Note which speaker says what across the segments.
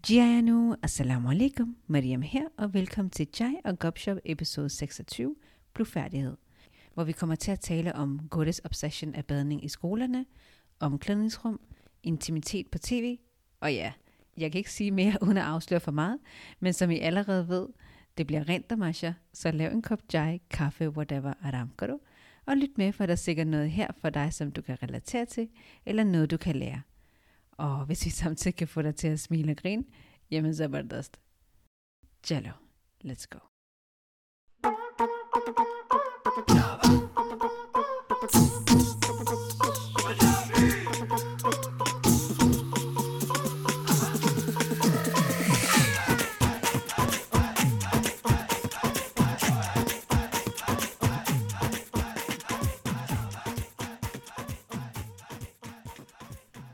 Speaker 1: Jaya nu, assalamu alaikum, Mariam her, og velkommen til Jai og Gopshop episode 26, Blufærdighed, hvor vi kommer til at tale om goddess obsession af badning i skolerne, omklædningsrum, intimitet på tv, og ja, jeg kan ikke sige mere uden at afsløre for meget, men som I allerede ved, det bliver rent damasha, så lav en kop chai, kaffe, whatever, aram karo, og lyt med, for der er sikkert noget her for dig, som du kan relatere til, eller noget, du kan lære. Og hvis vi samtidig kan få dig til at smile og grine, jamen så var det Jello, let's go.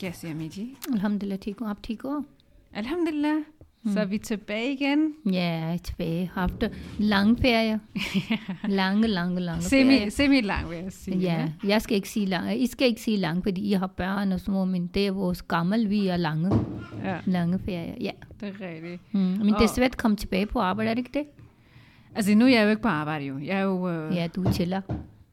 Speaker 1: Yes, Yamiji.
Speaker 2: Alhamdulillah, Tico. Op, Tico.
Speaker 1: Alhamdulillah. Mm. Så er vi tilbage igen.
Speaker 2: Ja, jeg er tilbage. Har haft lange ferie. lange, lange, lange
Speaker 1: Semi,
Speaker 2: ferie.
Speaker 1: semi lang, vil jeg sige.
Speaker 2: Ja, jeg skal ikke sige lange. I skal ikke sige lange, fordi I har børn og sådan noget, men det er vores gammel, vi er lange,
Speaker 1: ja,
Speaker 2: lange ferie. Ja.
Speaker 1: det er rigtigt.
Speaker 2: Mm. Men det
Speaker 1: Og-
Speaker 2: er svært at komme tilbage på arbejde, er det ikke det?
Speaker 1: Altså, nu er jeg jo ikke på arbejde, jo. Jeg er jo øh,
Speaker 2: Ja, du chiller.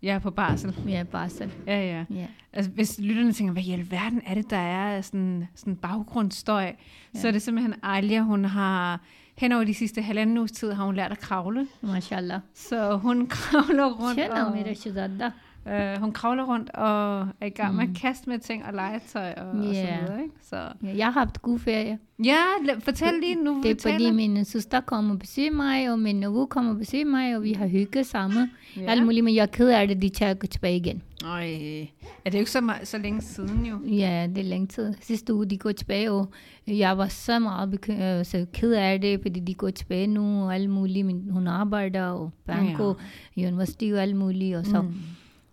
Speaker 1: jeg er på barsel.
Speaker 2: Ja, bare sådan.
Speaker 1: Ja, ja.
Speaker 2: Ja.
Speaker 1: Altså, hvis lytterne tænker, hvad i alverden er det, der er sådan, sådan baggrundsstøj, ja. så er det simpelthen Alia, hun har... Hen over de sidste halvanden uges tid har hun lært at kravle,
Speaker 2: Mashallah.
Speaker 1: så hun kravler rundt,
Speaker 2: Shalom,
Speaker 1: og,
Speaker 2: Mira Shazadda.
Speaker 1: øh, hun kravler rundt og er i gang med at kaste med ting og legetøj og, og så
Speaker 2: Mm. Ja.
Speaker 1: videre. Ikke? Så,
Speaker 2: Ja, jeg har haft god ferie.
Speaker 1: ja, la- fortæl lige nu,
Speaker 2: Det
Speaker 1: vi
Speaker 2: er fordi
Speaker 1: taler.
Speaker 2: min søster kommer og besøger mig, og min nevø kommer og besøger mig, og vi har hygget sammen.
Speaker 1: Ja.
Speaker 2: Ja. Alt muligt, men jeg er ked af det, de tager tilbage igen.
Speaker 1: Øj, er det jo ikke så, meget, så længe siden jo?
Speaker 2: Ja, det er længe tid. Sidste uge, de går tilbage, og jeg var så meget bekym- øh, så ked af det, fordi de går tilbage nu, og alt muligt. Min, hun arbejder, og Banco, ja. University og alt muligt, og så mm.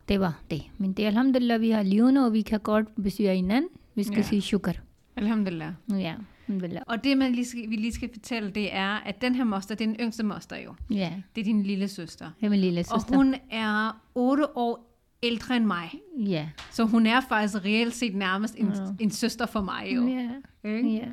Speaker 2: det var det. Men det er alhamdulillah, vi har levende, og vi kan godt besøge hinanden. Vi skal
Speaker 1: Ja.
Speaker 2: ja. sige sukker.
Speaker 1: Alhamdulillah.
Speaker 2: Ja, alhamdulillah.
Speaker 1: Og det, man lige skal, vi lige skal fortælle, det er, at den her moster, det er den yngste moster jo.
Speaker 2: ja.
Speaker 1: Det er din lille søster.
Speaker 2: Det er min lille søster.
Speaker 1: Og hun er 8 år ældre end mig.
Speaker 2: Ja.
Speaker 1: Så hun er faktisk reelt set nærmest en, mm. en søster for mig jo.
Speaker 2: Ja.
Speaker 1: Ikke?
Speaker 2: ja.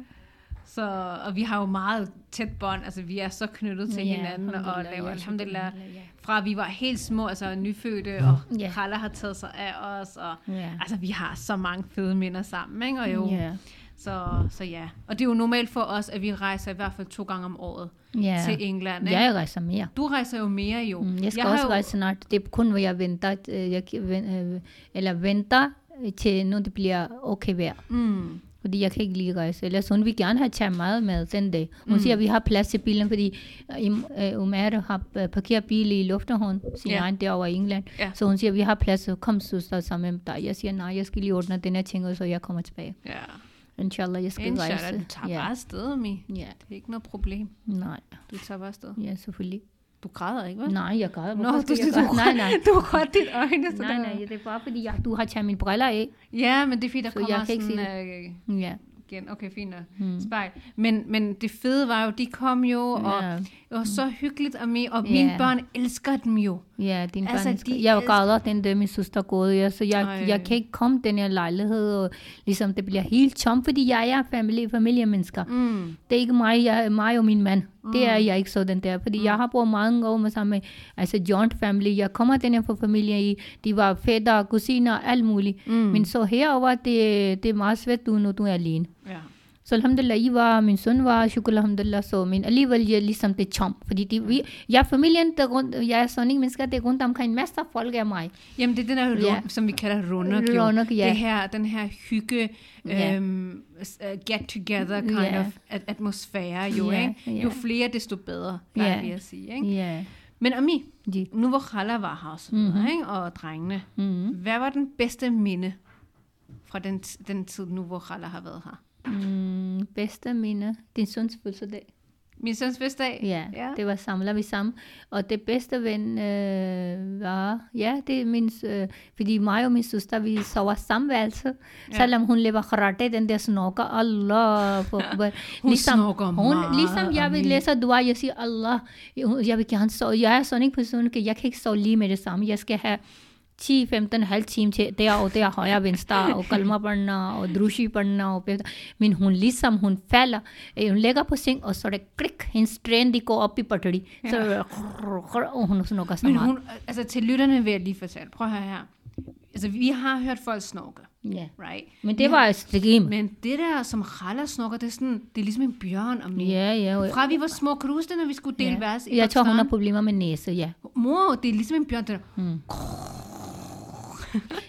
Speaker 1: Så, og vi har jo meget tæt bånd, altså vi er så knyttet til
Speaker 2: Ja,
Speaker 1: hinanden og
Speaker 2: alhamdulillah,
Speaker 1: laver
Speaker 2: ja,
Speaker 1: alhamdulillah.
Speaker 2: alhamdulillah,
Speaker 1: Fra vi var helt små, altså nyfødte, og
Speaker 2: Ja.
Speaker 1: Kralla har taget sig af os. Og,
Speaker 2: Ja.
Speaker 1: Altså vi har så mange fede minder sammen, ikke? Og jo,
Speaker 2: Ja.
Speaker 1: så, så ja. Og det er jo normalt for os, at vi rejser i hvert fald to gange om året
Speaker 2: ja.
Speaker 1: til England. Ikke?
Speaker 2: Jeg rejser mere.
Speaker 1: Du rejser jo mere jo.
Speaker 2: Mm, jeg skal
Speaker 1: har
Speaker 2: jeg også
Speaker 1: jo-
Speaker 2: rejse snart. Det er kun, hvor jeg venter, øh, jeg, kan ven- øh, eller venter øh, til, når det bliver okay vejr.
Speaker 1: Mm,
Speaker 2: Fordi jeg kan ikke lige rejse. Ellers hun vil gerne have taget meget med den dag. Hun mm. siger, at vi har plads til bilen, fordi øh, Im- øh, Umar har øh, parkeret bil i Lufthavn, sin
Speaker 1: Ja.
Speaker 2: yeah. egen derovre i England.
Speaker 1: Ja.
Speaker 2: Så hun siger, at vi har plads, så kom søster sammen med dig. Jeg siger, nej, jeg skal lige ordne den her ting, og så jeg kommer tilbage.
Speaker 1: ja.
Speaker 2: Inshallah, jeg skal rejse.
Speaker 1: Inshallah, du tager
Speaker 2: ja.
Speaker 1: bare afsted, Mi.
Speaker 2: Ja,
Speaker 1: Det er ikke noget problem.
Speaker 2: nej.
Speaker 1: Du tager bare afsted.
Speaker 2: Ja, selvfølgelig.
Speaker 1: Du græder ikke, vel?
Speaker 2: Nej, jeg gør.
Speaker 1: Nå, du, du,
Speaker 2: gør? Nej, nej.
Speaker 1: du rørte dit øjne. Så
Speaker 2: Nej,
Speaker 1: der-
Speaker 2: nej, det er bare fordi, jeg, du har taget mine briller af.
Speaker 1: Ja, men det er fordi, der
Speaker 2: Så
Speaker 1: kommer
Speaker 2: jeg kan ikke
Speaker 1: sådan øh,
Speaker 2: Ja.
Speaker 1: igen. Okay, fint nok. Spejl. Men, men det fede var jo, de kom jo, og
Speaker 2: Hmm. Ja. Hmm.
Speaker 1: det var så hyggeligt, og, Mi, og mine
Speaker 2: Ja.
Speaker 1: børn elsker dem jo.
Speaker 2: Ja, din
Speaker 1: Altså,
Speaker 2: altså, børn elsker.
Speaker 1: de
Speaker 2: Jeg
Speaker 1: elsker-
Speaker 2: græder den der, min søster gået, ja, så jeg,
Speaker 1: Ej.
Speaker 2: jeg kan ikke komme den her lejlighed, og ligesom det bliver helt tom, fordi jeg er familie, familiemennesker. Mm.
Speaker 1: Mm.
Speaker 2: Det er ikke mig, jeg, mig og min mand. Mm. Det er jeg ikke sådan der, fordi mm. jeg har brugt mange år med sammen med, altså joint family. Jeg kommer den her fra familie i, de var fætter, kusiner, alt muligt. Mm. Men så herover det, det er meget svært, du, når du er alene.
Speaker 1: Ja.
Speaker 2: Så alhamdulillah, I var, min søn var, shukr alhamdulillah, så men alligevel jeg ligesom det chom. Fordi de, vi, jeg er familien, der rundt, jeg er sådan en menneske, der er rundt omkring masser af folk af mig.
Speaker 1: Jamen, det er den her,
Speaker 2: Ja.
Speaker 1: yeah. som vi kalder ronak, jo.
Speaker 2: Ronak, ja.
Speaker 1: Det her, den her hygge,
Speaker 2: Ja.
Speaker 1: øhm, s- øh, get-together kind
Speaker 2: Ja.
Speaker 1: of at- atmosfære, jo,
Speaker 2: Ja,
Speaker 1: ikke?
Speaker 2: ja.
Speaker 1: Jo flere, desto bedre, plejer
Speaker 2: Ja.
Speaker 1: vi at sige, ikke?
Speaker 2: Ja.
Speaker 1: Men Ami,
Speaker 2: Yeah.
Speaker 1: nu hvor Khala var her og, så videre,
Speaker 2: Mhm.
Speaker 1: ikke? og drengene,
Speaker 2: Mm.
Speaker 1: hvad var den bedste minde fra den, t- den tid nu, hvor Khala har været her?
Speaker 2: Mm, bedste minde, din søns fødselsdag.
Speaker 1: Min søns fødselsdag?
Speaker 2: Ja,
Speaker 1: ja.
Speaker 2: det var samlet vi sammen. Og det bedste ven øh, var, ja, det er min, s- øh, fordi mig og min søster, vi sover samme værelse.
Speaker 1: Ja.
Speaker 2: Selvom hun lever karate, den der snorker, Allah. For,
Speaker 1: Hun snorker
Speaker 2: hun,
Speaker 1: meget,
Speaker 2: Ligesom jeg vil
Speaker 1: Amin.
Speaker 2: læse dua, jeg siger Allah, jeg jeg vil gerne sove. Jeg er sådan en person, at jeg kan ikke sove lige med det samme. Jeg skal have 10, 15, halv time til derovre, der højre venstre, og kalma pørna, og drushi pørna, og pæfter. Men hun ligesom, hun falder, øh, hun lægger på seng, og så er det klik, hendes træn, de går op i patri. Så, og hun snukker så
Speaker 1: Men
Speaker 2: meget.
Speaker 1: hun, altså til lytterne vil jeg lige fortælle, prøv at høre her. Altså, vi har hørt folk snorke,
Speaker 2: Ja.
Speaker 1: right?
Speaker 2: Men det var ekstremt.
Speaker 1: Men det der, som Ralla snorker, det er sådan, det er ligesom en bjørn om
Speaker 2: Ja, ja. og-
Speaker 1: Fra vi var små, kan du huske det, når vi skulle dele
Speaker 2: ja.
Speaker 1: vers i
Speaker 2: Jeg tror, hun har
Speaker 1: Pakistan?
Speaker 2: problemer med næse, ja.
Speaker 1: Mor, det er ligesom en bjørn, det der.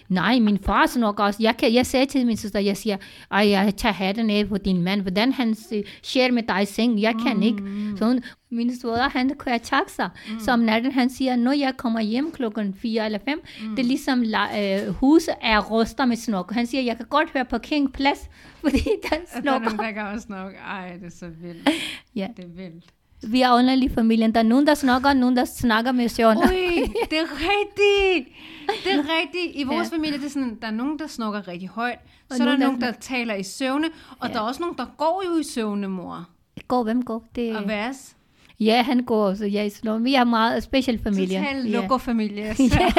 Speaker 2: Nej, min far snakker også. Jeg, kan, jeg sagde til min søster, jeg siger, ej, jeg tager hatten af på din mand. Hvordan han øh, ser med dig i seng, jeg kan ikke.
Speaker 1: Mm.
Speaker 2: Så hun, min svoger, han kunne jeg takke sig. Så om natten, han siger, når jeg kommer hjem klokken 4 eller 5,
Speaker 1: Mm.
Speaker 2: det er ligesom la- øh, huset er ruster med snok. Han siger, jeg kan godt høre på King Plads, fordi den
Speaker 1: At der Altså, er
Speaker 2: snakker.
Speaker 1: nogen, der kan også snorke. Ej, det er så vildt.
Speaker 2: Ja.
Speaker 1: Det er vildt.
Speaker 2: Vi er underlig i familien. Der er nogen, der snakker, og nogen, der snakker med søvn.
Speaker 1: Ui, det er rigtigt. Det er rigtigt. I vores
Speaker 2: Ja.
Speaker 1: ja. familie, det er sådan, der er nogen, der snorker rigtig højt.
Speaker 2: Og
Speaker 1: Så er der
Speaker 2: nogen, der
Speaker 1: nogen, der taler i søvne. Og
Speaker 2: Ja.
Speaker 1: der er også nogen, der går jo i søvne, mor.
Speaker 2: Går, hvem går? Det...
Speaker 1: Og vers.
Speaker 2: Ja, han går også. Jeg er sådan, vi er meget speciel familie.
Speaker 1: Total
Speaker 2: Ja.
Speaker 1: loco-familie.
Speaker 2: ja,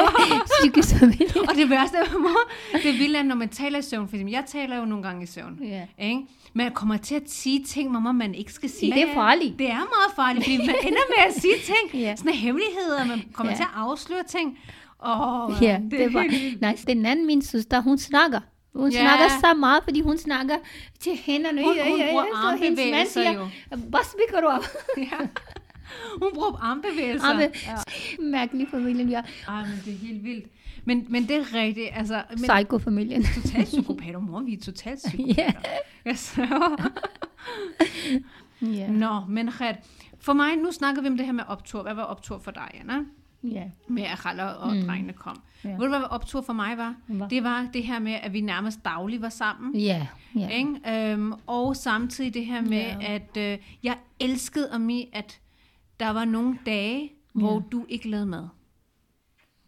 Speaker 2: psykisk familie.
Speaker 1: Og det værste er, mor, det vilde er, når man taler i søvn. For eksempel, jeg taler jo nogle gange i søvn.
Speaker 2: Ja.
Speaker 1: Ikke? Man kommer til at sige ting, mamma, man ikke skal sige.
Speaker 2: Det er farligt.
Speaker 1: Det er meget farligt, fordi man ender med at sige ting.
Speaker 2: Ja.
Speaker 1: ja. Sådan hemmeligheder, man kommer
Speaker 2: Ja.
Speaker 1: til at afsløre ting. Åh, oh,
Speaker 2: Ja, det var, nej, den anden, min søster, hun snakker. Hun
Speaker 1: Ja.
Speaker 2: snakker så meget, fordi hun snakker til hænderne.
Speaker 1: Hun- hun bruger
Speaker 2: så hendes mand
Speaker 1: armbevægelser
Speaker 2: siger, Bare spikker du op.
Speaker 1: Ja. Hun bruger armbevægelser.
Speaker 2: Arme.
Speaker 1: Altså, Ja.
Speaker 2: Mærkelig familien, vi er.
Speaker 1: Ej, men det er helt vildt. Men, men det er rigtigt, altså... Men
Speaker 2: Psyko-familien.
Speaker 1: totalt psykopater, mor, vi er totalt psykopater.
Speaker 2: ja.
Speaker 1: Yes.
Speaker 2: Ja.
Speaker 1: Nå, men Red, for mig, nu snakker vi om det her med optur. Hvad var optur for dig, Anna?
Speaker 2: ja.
Speaker 1: Med at Raller og mm. drengene kom.
Speaker 2: Ja.
Speaker 1: Ja. Ved du, hvad optur for mig var?
Speaker 2: Hvad?
Speaker 1: Det var det her med, at vi nærmest dagligt var sammen.
Speaker 2: Ja, ja.
Speaker 1: Ikke? Øhm, og samtidig det her med,
Speaker 2: Ja.
Speaker 1: ja. at øh, jeg elskede om i, at der var nogle dage, hvor
Speaker 2: Ja.
Speaker 1: du ikke lavede mad.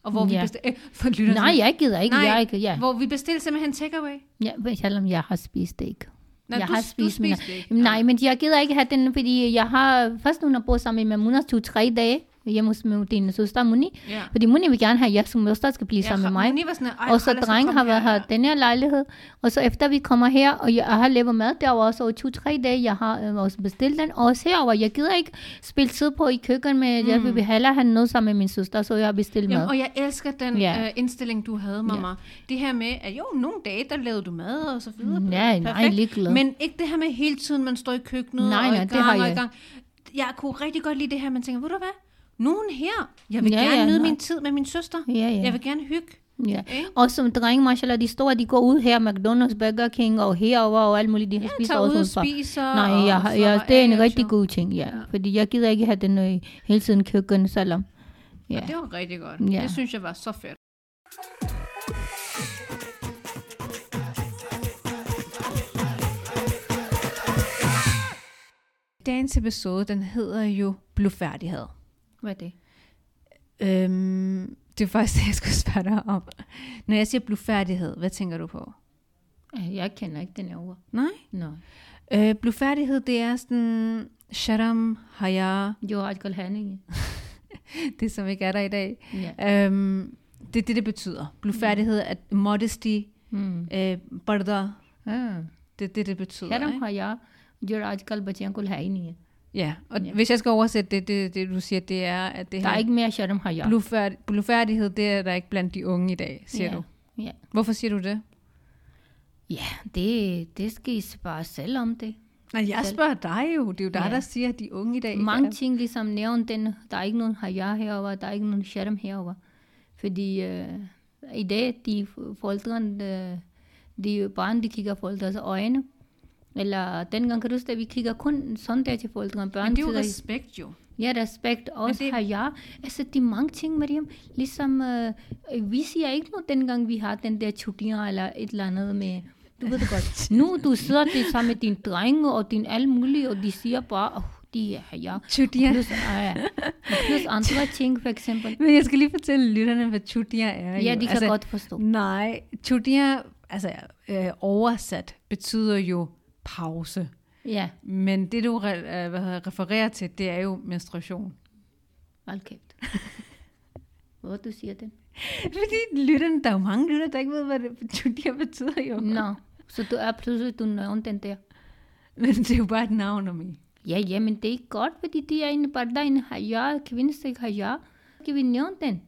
Speaker 1: Og hvor
Speaker 2: Ja.
Speaker 1: vi bestilte... Øh, for lytter
Speaker 2: Nej, jeg gider ikke.
Speaker 1: Nej,
Speaker 2: jeg ikke. Ja.
Speaker 1: hvor vi bestilte simpelthen takeaway.
Speaker 2: Ja, men selvom jeg har spist det ikke.
Speaker 1: Nå,
Speaker 2: jeg
Speaker 1: du-
Speaker 2: har
Speaker 1: du
Speaker 2: men-
Speaker 1: spiste det ikke.
Speaker 2: Jamen, Nej, men jeg gider ikke have den, fordi jeg har først nu, når jeg bor sammen med Munas to tre dage hjemme hos min din søster Muni.
Speaker 1: Ja.
Speaker 2: Fordi Muni vil gerne have, at jeg som søster skal blive sammen med mig.
Speaker 1: Moni var sådan, "Ej,
Speaker 2: Og så
Speaker 1: Carla,
Speaker 2: drengen
Speaker 1: kom
Speaker 2: har været
Speaker 1: her."
Speaker 2: her den her lejlighed. Og så efter vi kommer her, og jeg har lavet mad derovre, så over to-tre dage, jeg har øh, også bestilt den. Og også herover, jeg gider ikke spille tid på i køkkenet, men mm. jeg vil hellere have noget sammen med min søster, så jeg har bestilt mad.
Speaker 1: Jamen, og jeg elsker den
Speaker 2: Ja.
Speaker 1: ja. øh, indstilling, du havde, mamma. Ja. Det her med, at jo, nogle dage, der lavede du mad og så videre.
Speaker 2: Nej, nej,
Speaker 1: Perfekt.
Speaker 2: ligeglad.
Speaker 1: Men ikke det her med hele tiden, man står i køkkenet
Speaker 2: Nej,
Speaker 1: og
Speaker 2: nej,
Speaker 1: i
Speaker 2: det
Speaker 1: gang
Speaker 2: har
Speaker 1: og
Speaker 2: jeg
Speaker 1: i gang. Jeg kunne rigtig godt lide det her, man tænker, ved du hvad? Nogen her. Jeg vil
Speaker 2: Ja,
Speaker 1: ja, gerne
Speaker 2: ja,
Speaker 1: ja, nyde
Speaker 2: nej.
Speaker 1: min tid med min søster.
Speaker 2: Ja, ja.
Speaker 1: Jeg vil gerne hygge.
Speaker 2: Ja,
Speaker 1: Ikke?
Speaker 2: og som drenge, mashallah, de store, de går ud her, McDonald's, Burger King og herover og alt muligt, de har spist
Speaker 1: tager ud
Speaker 2: også
Speaker 1: og
Speaker 2: udefra.
Speaker 1: spiser
Speaker 2: Nej,
Speaker 1: og
Speaker 2: jeg, har- jeg,
Speaker 1: slapper
Speaker 2: det er en
Speaker 1: af og
Speaker 2: rigtig
Speaker 1: chill.
Speaker 2: god ting, ja. Fordi jeg gider ikke have den øh, hele tiden køkken, selvom. Ja.
Speaker 1: Det var rigtig godt.
Speaker 2: Ja.
Speaker 1: Ja. Det synes jeg var så fedt.
Speaker 3: Dagens episode, den hedder jo Blufærdighed.
Speaker 2: Hvad er det?
Speaker 3: Øhm, det er faktisk det, jeg skulle spørge dig om. Når jeg siger blufærdighed, hvad tænker du på?
Speaker 2: Jeg kender ikke den her ord.
Speaker 3: Nej.
Speaker 2: Nå.
Speaker 3: Øh, blufærdighed, det er sådan... Sharam, haya,
Speaker 2: Jo, alkohol handling.
Speaker 3: det som ikke er der i dag.
Speaker 2: Ja.
Speaker 3: Øhm, det er det, det betyder. Blufærdighed er modesty,
Speaker 2: Mm.
Speaker 3: øh, barda,
Speaker 2: Ah.
Speaker 3: det er det, det betyder.
Speaker 2: Her
Speaker 3: ikke?
Speaker 2: har jeg, jo आजकल बच्चियों को है ही नहीं है
Speaker 3: Ja, og
Speaker 2: Ja.
Speaker 3: ja. hvis jeg skal oversætte det, det, det du siger, det er, at det
Speaker 2: der er
Speaker 3: her
Speaker 2: ikke mere शर्म har jeg
Speaker 3: blufærd, blufærdighed, det er der ikke blandt de unge i dag, siger
Speaker 2: ja.
Speaker 3: du.
Speaker 2: ja.
Speaker 3: Hvorfor siger du det?
Speaker 2: ja det, det skal I spørge selv om det
Speaker 3: Nej, jeg spørger dig jo. Det er jo dig,
Speaker 2: Ja.
Speaker 3: ja. der siger, at de unge i dag... ikke
Speaker 2: Mange
Speaker 3: er-
Speaker 2: ting ligesom nævnt den, der er ikke nogen hajar herover, der er ikke nogen skærm herover. Fordi øh, i dag, de f- forældrene, øh, de børn, de kigger forældres øjne. Eller dengang, kan du huske, at vi kigger kun sådan der til forældrene. Børn
Speaker 1: Men det er jo
Speaker 2: kigger-
Speaker 1: respekt, jo.
Speaker 2: Ja, respekt også det...
Speaker 1: det-
Speaker 2: har jeg. Altså, det er mange ting, Mariam. Ligesom, øh, vi siger ikke noget, dengang vi har den der chutier eller et eller andet med... Du ved det godt. nu du sidder det sammen med din dreng og din alt muligt, og de siger bare, oh, de er hajar.
Speaker 3: Chutia.
Speaker 2: Plus, ja. Og plus andre ting, for eksempel.
Speaker 3: Men jeg skal lige fortælle lytterne, hvad chutia er.
Speaker 2: Ja,
Speaker 3: jo.
Speaker 2: de kan altså, godt forstå.
Speaker 3: Nej, chutia, altså øh, oversat, betyder jo pause.
Speaker 2: Ja,
Speaker 3: Men det, du re- øh, hvad hedder, refererer til, det er jo menstruation.
Speaker 2: hold kæft. Hvor du siger den?
Speaker 3: Fordi lytterne, der er jo mange lytter, der ikke ved, hvad det betyder, betyder jo.
Speaker 2: Nå, så du er pludselig, du er nøgen den der.
Speaker 3: Men det er jo bare et navn om i.
Speaker 2: Ja, ja, men det er ikke godt, fordi det er en barda, en haja, kvindestik haja. Kan vi nævne den?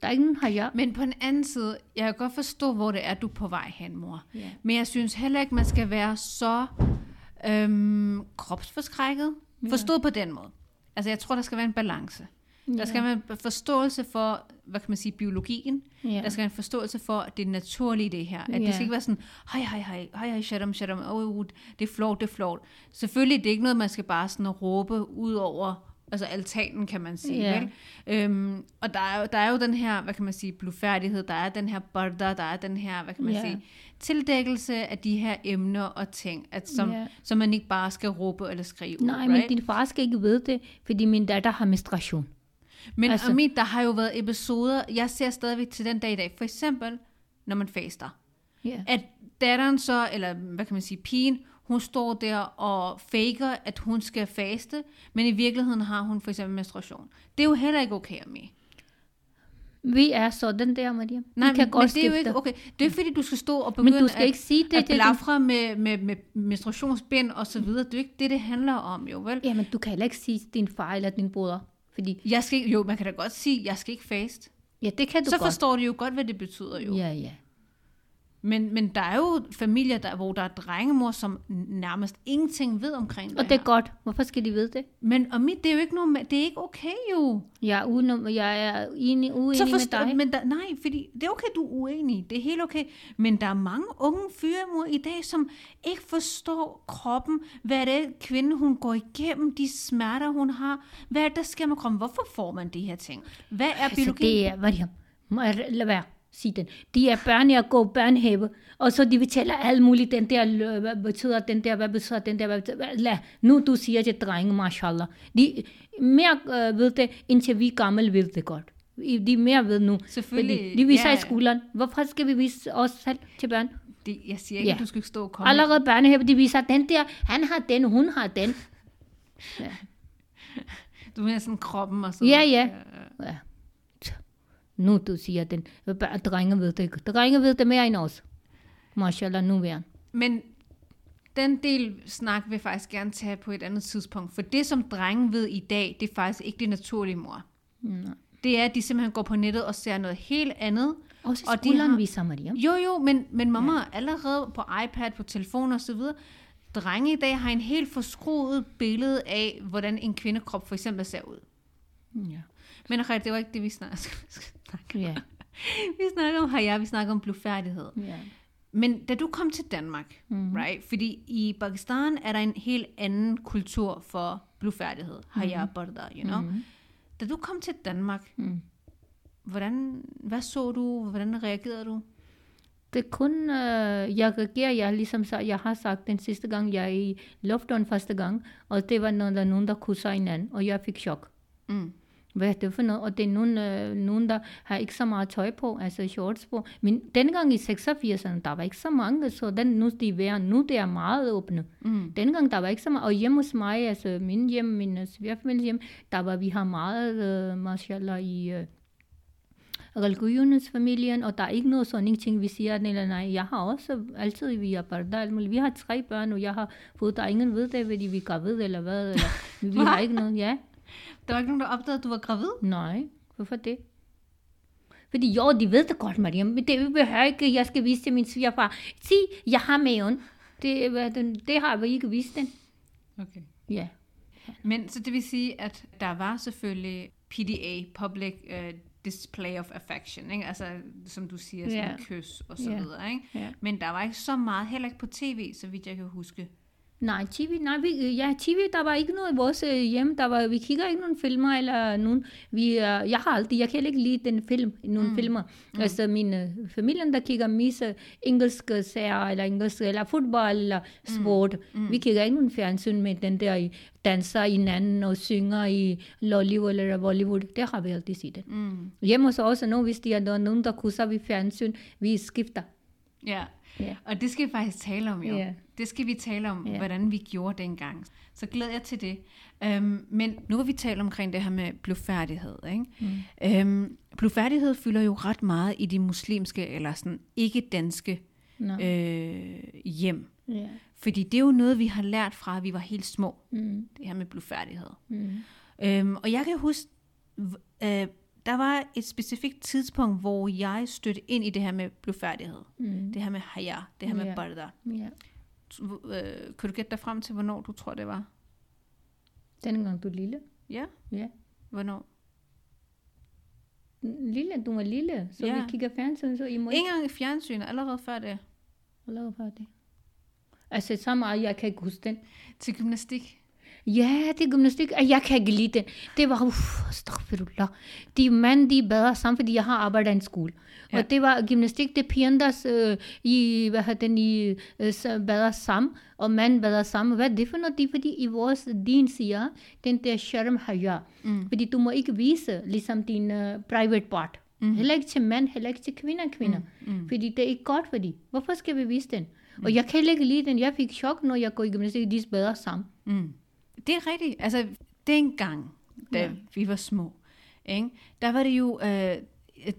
Speaker 2: Der er ikke nogen haja.
Speaker 1: Men på den anden side, jeg kan godt forstå, hvor det er, du er på vej hen, mor.
Speaker 2: Ja.
Speaker 1: Men jeg synes heller ikke, man skal være så øhm, kropsforskrækket. Forstået på den måde. Altså, jeg tror, der skal være en balance. Der skal være en forståelse for, hvad kan man sige, biologien.
Speaker 2: Ja.
Speaker 1: Der skal være en forståelse for det naturlige i det her. At
Speaker 2: Ja.
Speaker 1: det skal ikke være sådan, hej, hej, hej, hej, hej, shut up, shut up, oh, uh, det er flot, det er flot. Selvfølgelig, det er ikke noget, man skal bare sådan råbe ud over, altså altanen, kan man sige.
Speaker 2: Ja.
Speaker 1: Yeah. Øhm, og der er, jo, der er jo den her, hvad kan man sige, blufærdighed, der er den her barda, der er den her, hvad kan man
Speaker 2: Ja.
Speaker 1: yeah. sige, tildækkelse af de her emner og ting, at som,
Speaker 2: Ja.
Speaker 1: yeah. som man ikke bare skal råbe eller skrive. ud,
Speaker 2: Nej,
Speaker 1: right?
Speaker 2: men din far skal ikke vide det, fordi min datter har menstruation.
Speaker 1: Men
Speaker 2: Altså-
Speaker 1: altså, Amit, der har jo været episoder, jeg ser stadigvæk til den dag i dag, for eksempel, når man faster.
Speaker 2: Ja.
Speaker 1: At datteren så, eller hvad kan man sige, pigen, hun står der og faker, at hun skal faste, men i virkeligheden har hun for eksempel menstruation. Det er jo heller ikke okay, Amit.
Speaker 2: Vi er sådan der, Maria.
Speaker 1: Nej,
Speaker 2: vi kan
Speaker 1: men,
Speaker 2: godt
Speaker 1: men det er jo
Speaker 2: skifte.
Speaker 1: ikke okay. Det er ikke, fordi, du skal stå og
Speaker 2: Men
Speaker 1: begynde
Speaker 2: du skal
Speaker 1: at,
Speaker 2: ikke sige det.
Speaker 1: at
Speaker 2: det, det
Speaker 1: blafre med, med, med menstruationsbind og så videre. Det er jo ikke det, det handler om, jo vel?
Speaker 2: Jamen, du kan heller ikke sige til din far eller din bror, fordi...
Speaker 1: Jeg skal, ikke- jo, man kan da godt sige, jeg skal ikke faste.
Speaker 2: Ja, det kan du
Speaker 1: Så
Speaker 2: godt.
Speaker 1: forstår du jo godt, hvad det betyder, jo.
Speaker 2: Ja, ja.
Speaker 1: Men, men der er jo familier, der, hvor der er drengemor, som nærmest ingenting ved omkring
Speaker 2: Og
Speaker 1: det,
Speaker 2: det er
Speaker 1: her.
Speaker 2: godt. Hvorfor skal de vide det?
Speaker 1: Men og mit, det er jo ikke noget, med- det er ikke okay jo.
Speaker 2: Jeg er, udenom, jeg er enig, uenig
Speaker 1: Så
Speaker 2: med dig.
Speaker 1: forstår, men der, nej, fordi det er okay, du er uenig. Det er helt okay. Men der er mange unge fyre mor i dag, som ikke forstår kroppen. Hvad det er, kvinde, hun går igennem, de smerter, hun har. Hvad er det, der sker med kroppen? Hvorfor får man de her ting? Hvad er
Speaker 2: altså,
Speaker 1: biologi?
Speaker 2: det er, Mariam, må jeg lade være sige den. De er børn, jeg går børnehave, og så de fortæller alt muligt, den der, lø- hvad betyder den der, hvad betyder den der, hvad betyder, hvad- lad, nu du siger til drenge, mashallah. De mere øh, ved det, indtil vi gamle ved det godt. I- De mere ved nu.
Speaker 1: Selvfølgelig,
Speaker 2: Fordi De viser
Speaker 1: ja,
Speaker 2: i
Speaker 1: ja.
Speaker 2: skolen. Hvorfor skal vi vise os selv til børn?
Speaker 1: det, jeg siger ikke,
Speaker 2: Ja.
Speaker 1: yeah. du skal ikke stå og komme.
Speaker 2: Allerede børnehave, de viser den der, han har den, hun har den.
Speaker 1: Du mener sådan kroppen og sådan
Speaker 2: Ja, ja. ja. Tja. Nu du siger den. Bare Drenge ved det ikke. Drenge ved det mere end os. Mashallah, nu er
Speaker 1: Men den del snak vil jeg faktisk gerne tage på et andet tidspunkt, for det som drenge ved i dag, det er faktisk ikke det naturlige mor.
Speaker 2: Nej.
Speaker 1: Det er, at de simpelthen går på nettet og ser noget helt andet.
Speaker 2: Også
Speaker 1: Og de
Speaker 2: skolen
Speaker 1: har-
Speaker 2: viser Maria.
Speaker 1: Jo jo, men, men mamma, ja. allerede på iPad, på telefon og så videre, drenge i dag har en helt forskruet billede af, hvordan en kvindekrop for eksempel ser ud.
Speaker 2: Ja.
Speaker 1: Men okay, det var ikke det, vi snakkede
Speaker 2: Ja.
Speaker 1: Vi snakker om haja, vi snakker om blufærdighed.
Speaker 2: ja.
Speaker 1: Men da du kom til Danmark, mm-hmm. right? Fordi i Pakistan er der en helt anden kultur for blufærdighed. Haya barda, you know? Mm-hmm. Da du kom til Danmark,
Speaker 2: Mm.
Speaker 1: hvordan, hvad så du? Hvordan reagerede du?
Speaker 2: Det er kun, øh, jeg reagerer, jeg, har ligesom, sa- jeg har sagt den sidste gang, jeg er i lufthavn første gang, og det var, når der er nogen, der kusser hinanden, og jeg fik chok.
Speaker 1: Mm.
Speaker 2: Hvad er det for noget? Og det er nogen, øh, nogen der har ikke så meget tøj på, altså shorts på. Men dengang i 86'erne, der var ikke så mange, så den, nu de er værre, nu det er meget åbne.
Speaker 1: Mm.
Speaker 2: Dengang der var ikke så meget, og hjemme hos mig, altså min hjem, min øh, svigerfamilie hjem, der var vi har meget, øh, mashallah, i øh, religionsfamilien, og der er ikke noget sådan en ting, vi siger, nej, nej, nej, jeg har også altid, vi har barda, alt muligt. vi har tre børn, og jeg har fået, der er ingen ved det, fordi vi er gravid, eller hvad, eller, vi har ikke noget, ja,
Speaker 1: Der var ikke nogen, der opdagede, at du var gravid?
Speaker 2: nej, hvorfor det? Fordi jo, de ved det godt, Mariam, men det behøver ikke, jeg skal vise til min svigerfar, sig, jeg har maven, det, hvad er det, det har vi ikke vist den,
Speaker 1: Okay.
Speaker 2: ja. Yeah.
Speaker 1: Men så det vil sige, at der var selvfølgelig PDA, Public uh, Display of Affection, ikke? Altså, som du siger, sådan
Speaker 2: Ja.
Speaker 1: yeah. kys og så
Speaker 2: Ja.
Speaker 1: yeah. videre, ikke?
Speaker 2: Ja.
Speaker 1: Men der var ikke så meget, heller ikke på tv, så vidt jeg kan huske.
Speaker 2: Nej, TV, nej, vi, øh, ja, TV, der var ikke noget i vores øh, hjem, der var, vi kigger ikke nogen filmer eller nogen, vi, øh, jeg har aldrig, jeg kan heller ikke lide den film, nogen mm. filmer, mm. altså min øh, familien, der kigger mest øh, engelske serier, eller engelsk, eller fodbold, eller sport, mm. Mm. vi kigger ikke nogen fjernsyn med den der, i danser i hinanden og synger i Lollywood eller Bollywood, det har vi altid set. Mm.
Speaker 1: Mm.
Speaker 2: Hjemme hos os, nu hvis de er der er nogen, der kusser vi fjernsyn, vi skifter.
Speaker 1: Ja,
Speaker 2: Ja.
Speaker 1: Og det skal vi faktisk tale om jo.
Speaker 2: Ja.
Speaker 1: Det skal vi tale om,
Speaker 2: Ja.
Speaker 1: hvordan vi gjorde dengang. Så glæder jeg til det. Øhm, men nu har vi talt omkring det her med blufærdighed. Ikke? Mm. Øhm, blufærdighed fylder jo ret meget i de muslimske eller sådan ikke-danske
Speaker 2: Nå.
Speaker 1: øh, hjem.
Speaker 2: Ja.
Speaker 1: Fordi det er jo noget, vi har lært fra, at vi var helt små.
Speaker 2: Mm.
Speaker 1: Det her med blufærdighed.
Speaker 2: Mm.
Speaker 1: Øhm, og jeg kan huske, v- øh, der var et specifikt tidspunkt, hvor jeg stødte ind i det her med blufærdighed.
Speaker 2: Mm.
Speaker 1: Det her med haya, det her med
Speaker 2: Ja.
Speaker 1: yeah. barda.
Speaker 2: Ja.
Speaker 1: T- hvor- Øh, kan du gætte dig frem til, hvornår du tror, det var?
Speaker 2: Dengang du er lille.
Speaker 1: Ja?
Speaker 2: Ja.
Speaker 1: Hvornår?
Speaker 2: Lille, du var lille, så
Speaker 1: Ja.
Speaker 2: ja. vi kigger fjernsyn, så I må
Speaker 1: Ingen gang i fjernsynet, allerede før det.
Speaker 2: ikke lave for det. Altså, så meget, jeg kan ikke huske den.
Speaker 1: Til gymnastik.
Speaker 2: Ja, det er gymnastik, og jeg kan ikke lide den. Det var, uff, astaghfirullah. De mænd, de bader sammen, fordi jeg har arbejdet i en skole. Ja.
Speaker 1: Ja.
Speaker 2: Og det var gymnastik, det er pigerne, der øh, i, hvad hedder den, i, øh, så bader sammen, og mænd bader sammen. Hvad er det for noget? Det er fordi, i vores din siger, den der sharm haya. Mm. Fordi du må ikke vise, ligesom din uh, private part. Mm. Heller ikke til mænd, heller ikke til kvinder, kvinder. Mm. Mm. Fordi det er ikke godt for dem. Hvorfor skal vi vise den? Mm. Og jeg kan heller ikke lide den. Jeg fik chok, når jeg går i gymnastik, de bader sammen.
Speaker 1: Mm. Det er rigtigt. Altså, dengang, da
Speaker 2: Ja.
Speaker 1: ja. vi var små, ikke? der var det jo... Øh,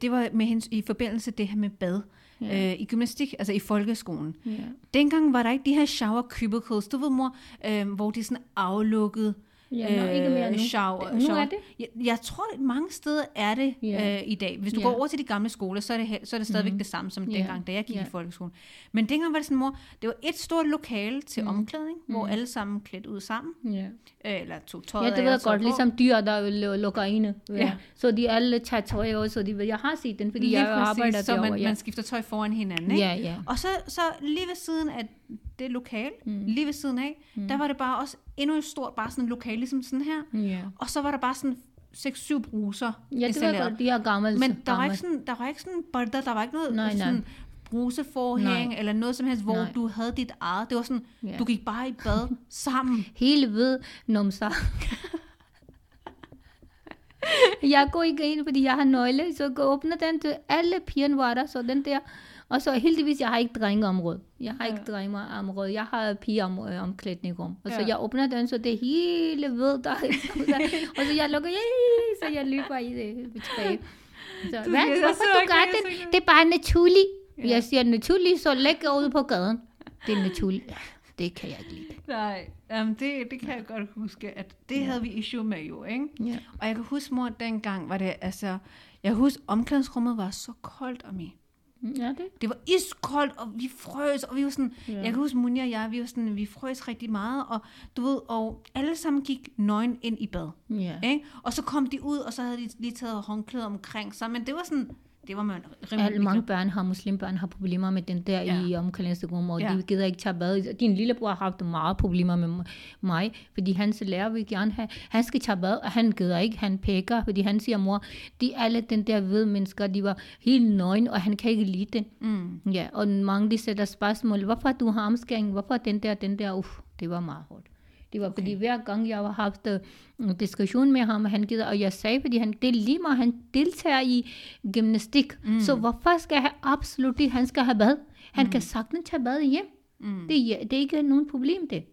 Speaker 1: det var med hens, i forbindelse det her med bad ja. øh, i gymnastik, altså i folkeskolen.
Speaker 2: Ja.
Speaker 1: Dengang var der ikke de her shower cubicles, du ved mor, øh, hvor de er sådan aflukket
Speaker 2: Ja, øh, ikke mere nu.
Speaker 1: Uh, shower.
Speaker 2: Nu
Speaker 1: shower.
Speaker 2: er det.
Speaker 1: Jeg, jeg tror, at mange steder er det
Speaker 2: Ja.
Speaker 1: øh, i dag. Hvis du
Speaker 2: Ja. Mhm.
Speaker 1: går over til de gamle skoler, så er det, he- så er det stadigvæk mm. det samme som
Speaker 2: Ja.
Speaker 1: dengang, da jeg gik
Speaker 2: Ja.
Speaker 1: i folkeskolen. Men dengang var det sådan, mor, det var et stort lokale til mm.
Speaker 2: Mhm.
Speaker 1: omklædning, hvor alle sammen klædt ud sammen,
Speaker 2: Ja.
Speaker 1: øh, eller tog tøjet
Speaker 2: ja, det ved
Speaker 1: af
Speaker 2: jeg
Speaker 1: og tog
Speaker 2: godt.
Speaker 1: på.
Speaker 2: Ligesom dyr, der vil lukker inde. Ja.
Speaker 1: Ja.
Speaker 2: Så de alle tager tøj også. og De, jeg har set den, fordi
Speaker 1: Lige
Speaker 2: jeg arbejder
Speaker 1: præcis, så
Speaker 2: derovre.
Speaker 1: man,
Speaker 2: ja.
Speaker 1: man skifter tøj foran hinanden, ikke?
Speaker 2: ja, ja.
Speaker 1: Og så, så lige ved siden af det lokale, mm. lige ved siden af, mm. der var det bare også endnu et stort, bare sådan et lokale, ligesom sådan her.
Speaker 2: Ja,
Speaker 1: Og så var der bare sådan 6-7 bruser
Speaker 2: ja det ved jeg godt. De er gammel.
Speaker 1: Men
Speaker 2: så
Speaker 1: der var,
Speaker 2: gammel.
Speaker 1: ikke sådan, der var ikke sådan bolder, der var ikke noget
Speaker 2: Nej, nej.
Speaker 1: sådan bruseforhæng
Speaker 2: Nej.
Speaker 1: eller noget som helst, hvor
Speaker 2: Nej.
Speaker 1: du havde dit eget. Det var sådan,
Speaker 2: Ja.
Speaker 1: du gik bare i bad sammen.
Speaker 2: Hele ved numser. jeg går ikke ind, fordi jeg har nøgle, så jeg åbner den til alle pigerne var der, så den der. Og så heldigvis, jeg har ikke drengeområde. Jeg har ikke ja. drengeområde. Jeg har pigeomklædningsrum. Og så
Speaker 1: Ja.
Speaker 2: jeg åbner den, så det hele ved der. og så jeg lukker, "Yay!" så jeg løber i det tilbage. Så,
Speaker 1: Du
Speaker 2: du,
Speaker 1: siger,
Speaker 2: hvad?
Speaker 1: "Jeg
Speaker 2: Hvorfor
Speaker 1: så
Speaker 2: du
Speaker 1: ikke,
Speaker 2: gør
Speaker 1: jeg så ikke."
Speaker 2: det? Det er bare naturligt. Ja. Jeg siger naturligt, så læg ud på gaden. Det er naturligt. Ja, Det kan jeg ikke lide.
Speaker 1: Nej, um, det, det kan jeg godt huske, at det ja. havde vi issue med jo, ikke?
Speaker 2: Ja.
Speaker 1: Og jeg kan huske, mor, dengang var det, altså, jeg husker, omklædningsrummet var så koldt om i.
Speaker 2: Ja, Mm, det
Speaker 1: Det var iskoldt, og vi frøs, og vi var sådan, ja. jeg kan huske, Munja og jeg, vi var sådan, vi frøs rigtig meget, og du ved, og alle sammen gik nøgen ind i bad.
Speaker 2: Ja.
Speaker 1: Ikke? Og så kom de ud, og så havde de lige taget håndklæder omkring sig, men det var sådan, det var man
Speaker 2: Alle
Speaker 1: rimelig
Speaker 2: mange børn har, muslimbørn har problemer med den der ligesom- ja. i omklædningsrum, og ja.
Speaker 1: Ja.
Speaker 2: de gider ikke tage bad. Din lillebror har haft meget problemer med m- mig, fordi hans lærer vil gerne have, han skal tage bad, og han gider ikke, han pækker, fordi han siger, mor, de alle den der ved mennesker, de var helt nøgen, og han kan ikke lide den.
Speaker 1: Mm.
Speaker 2: Ja, og mange de sætter spørgsmål, hvorfor du har omskæring, hvorfor den der, den der, uff, det var meget hårdt. Det var okay. fordi hver gang jeg har haft øh, diskussion med ham, han gider, og jeg sagde, fordi han, det er lige meget, han deltager i gymnastik, mm. så hvorfor skal han absolut ikke, han skal have bad? Han mm. kan sagtens tage bad hjem. Mm. Det, er- det er ikke nogen problem det.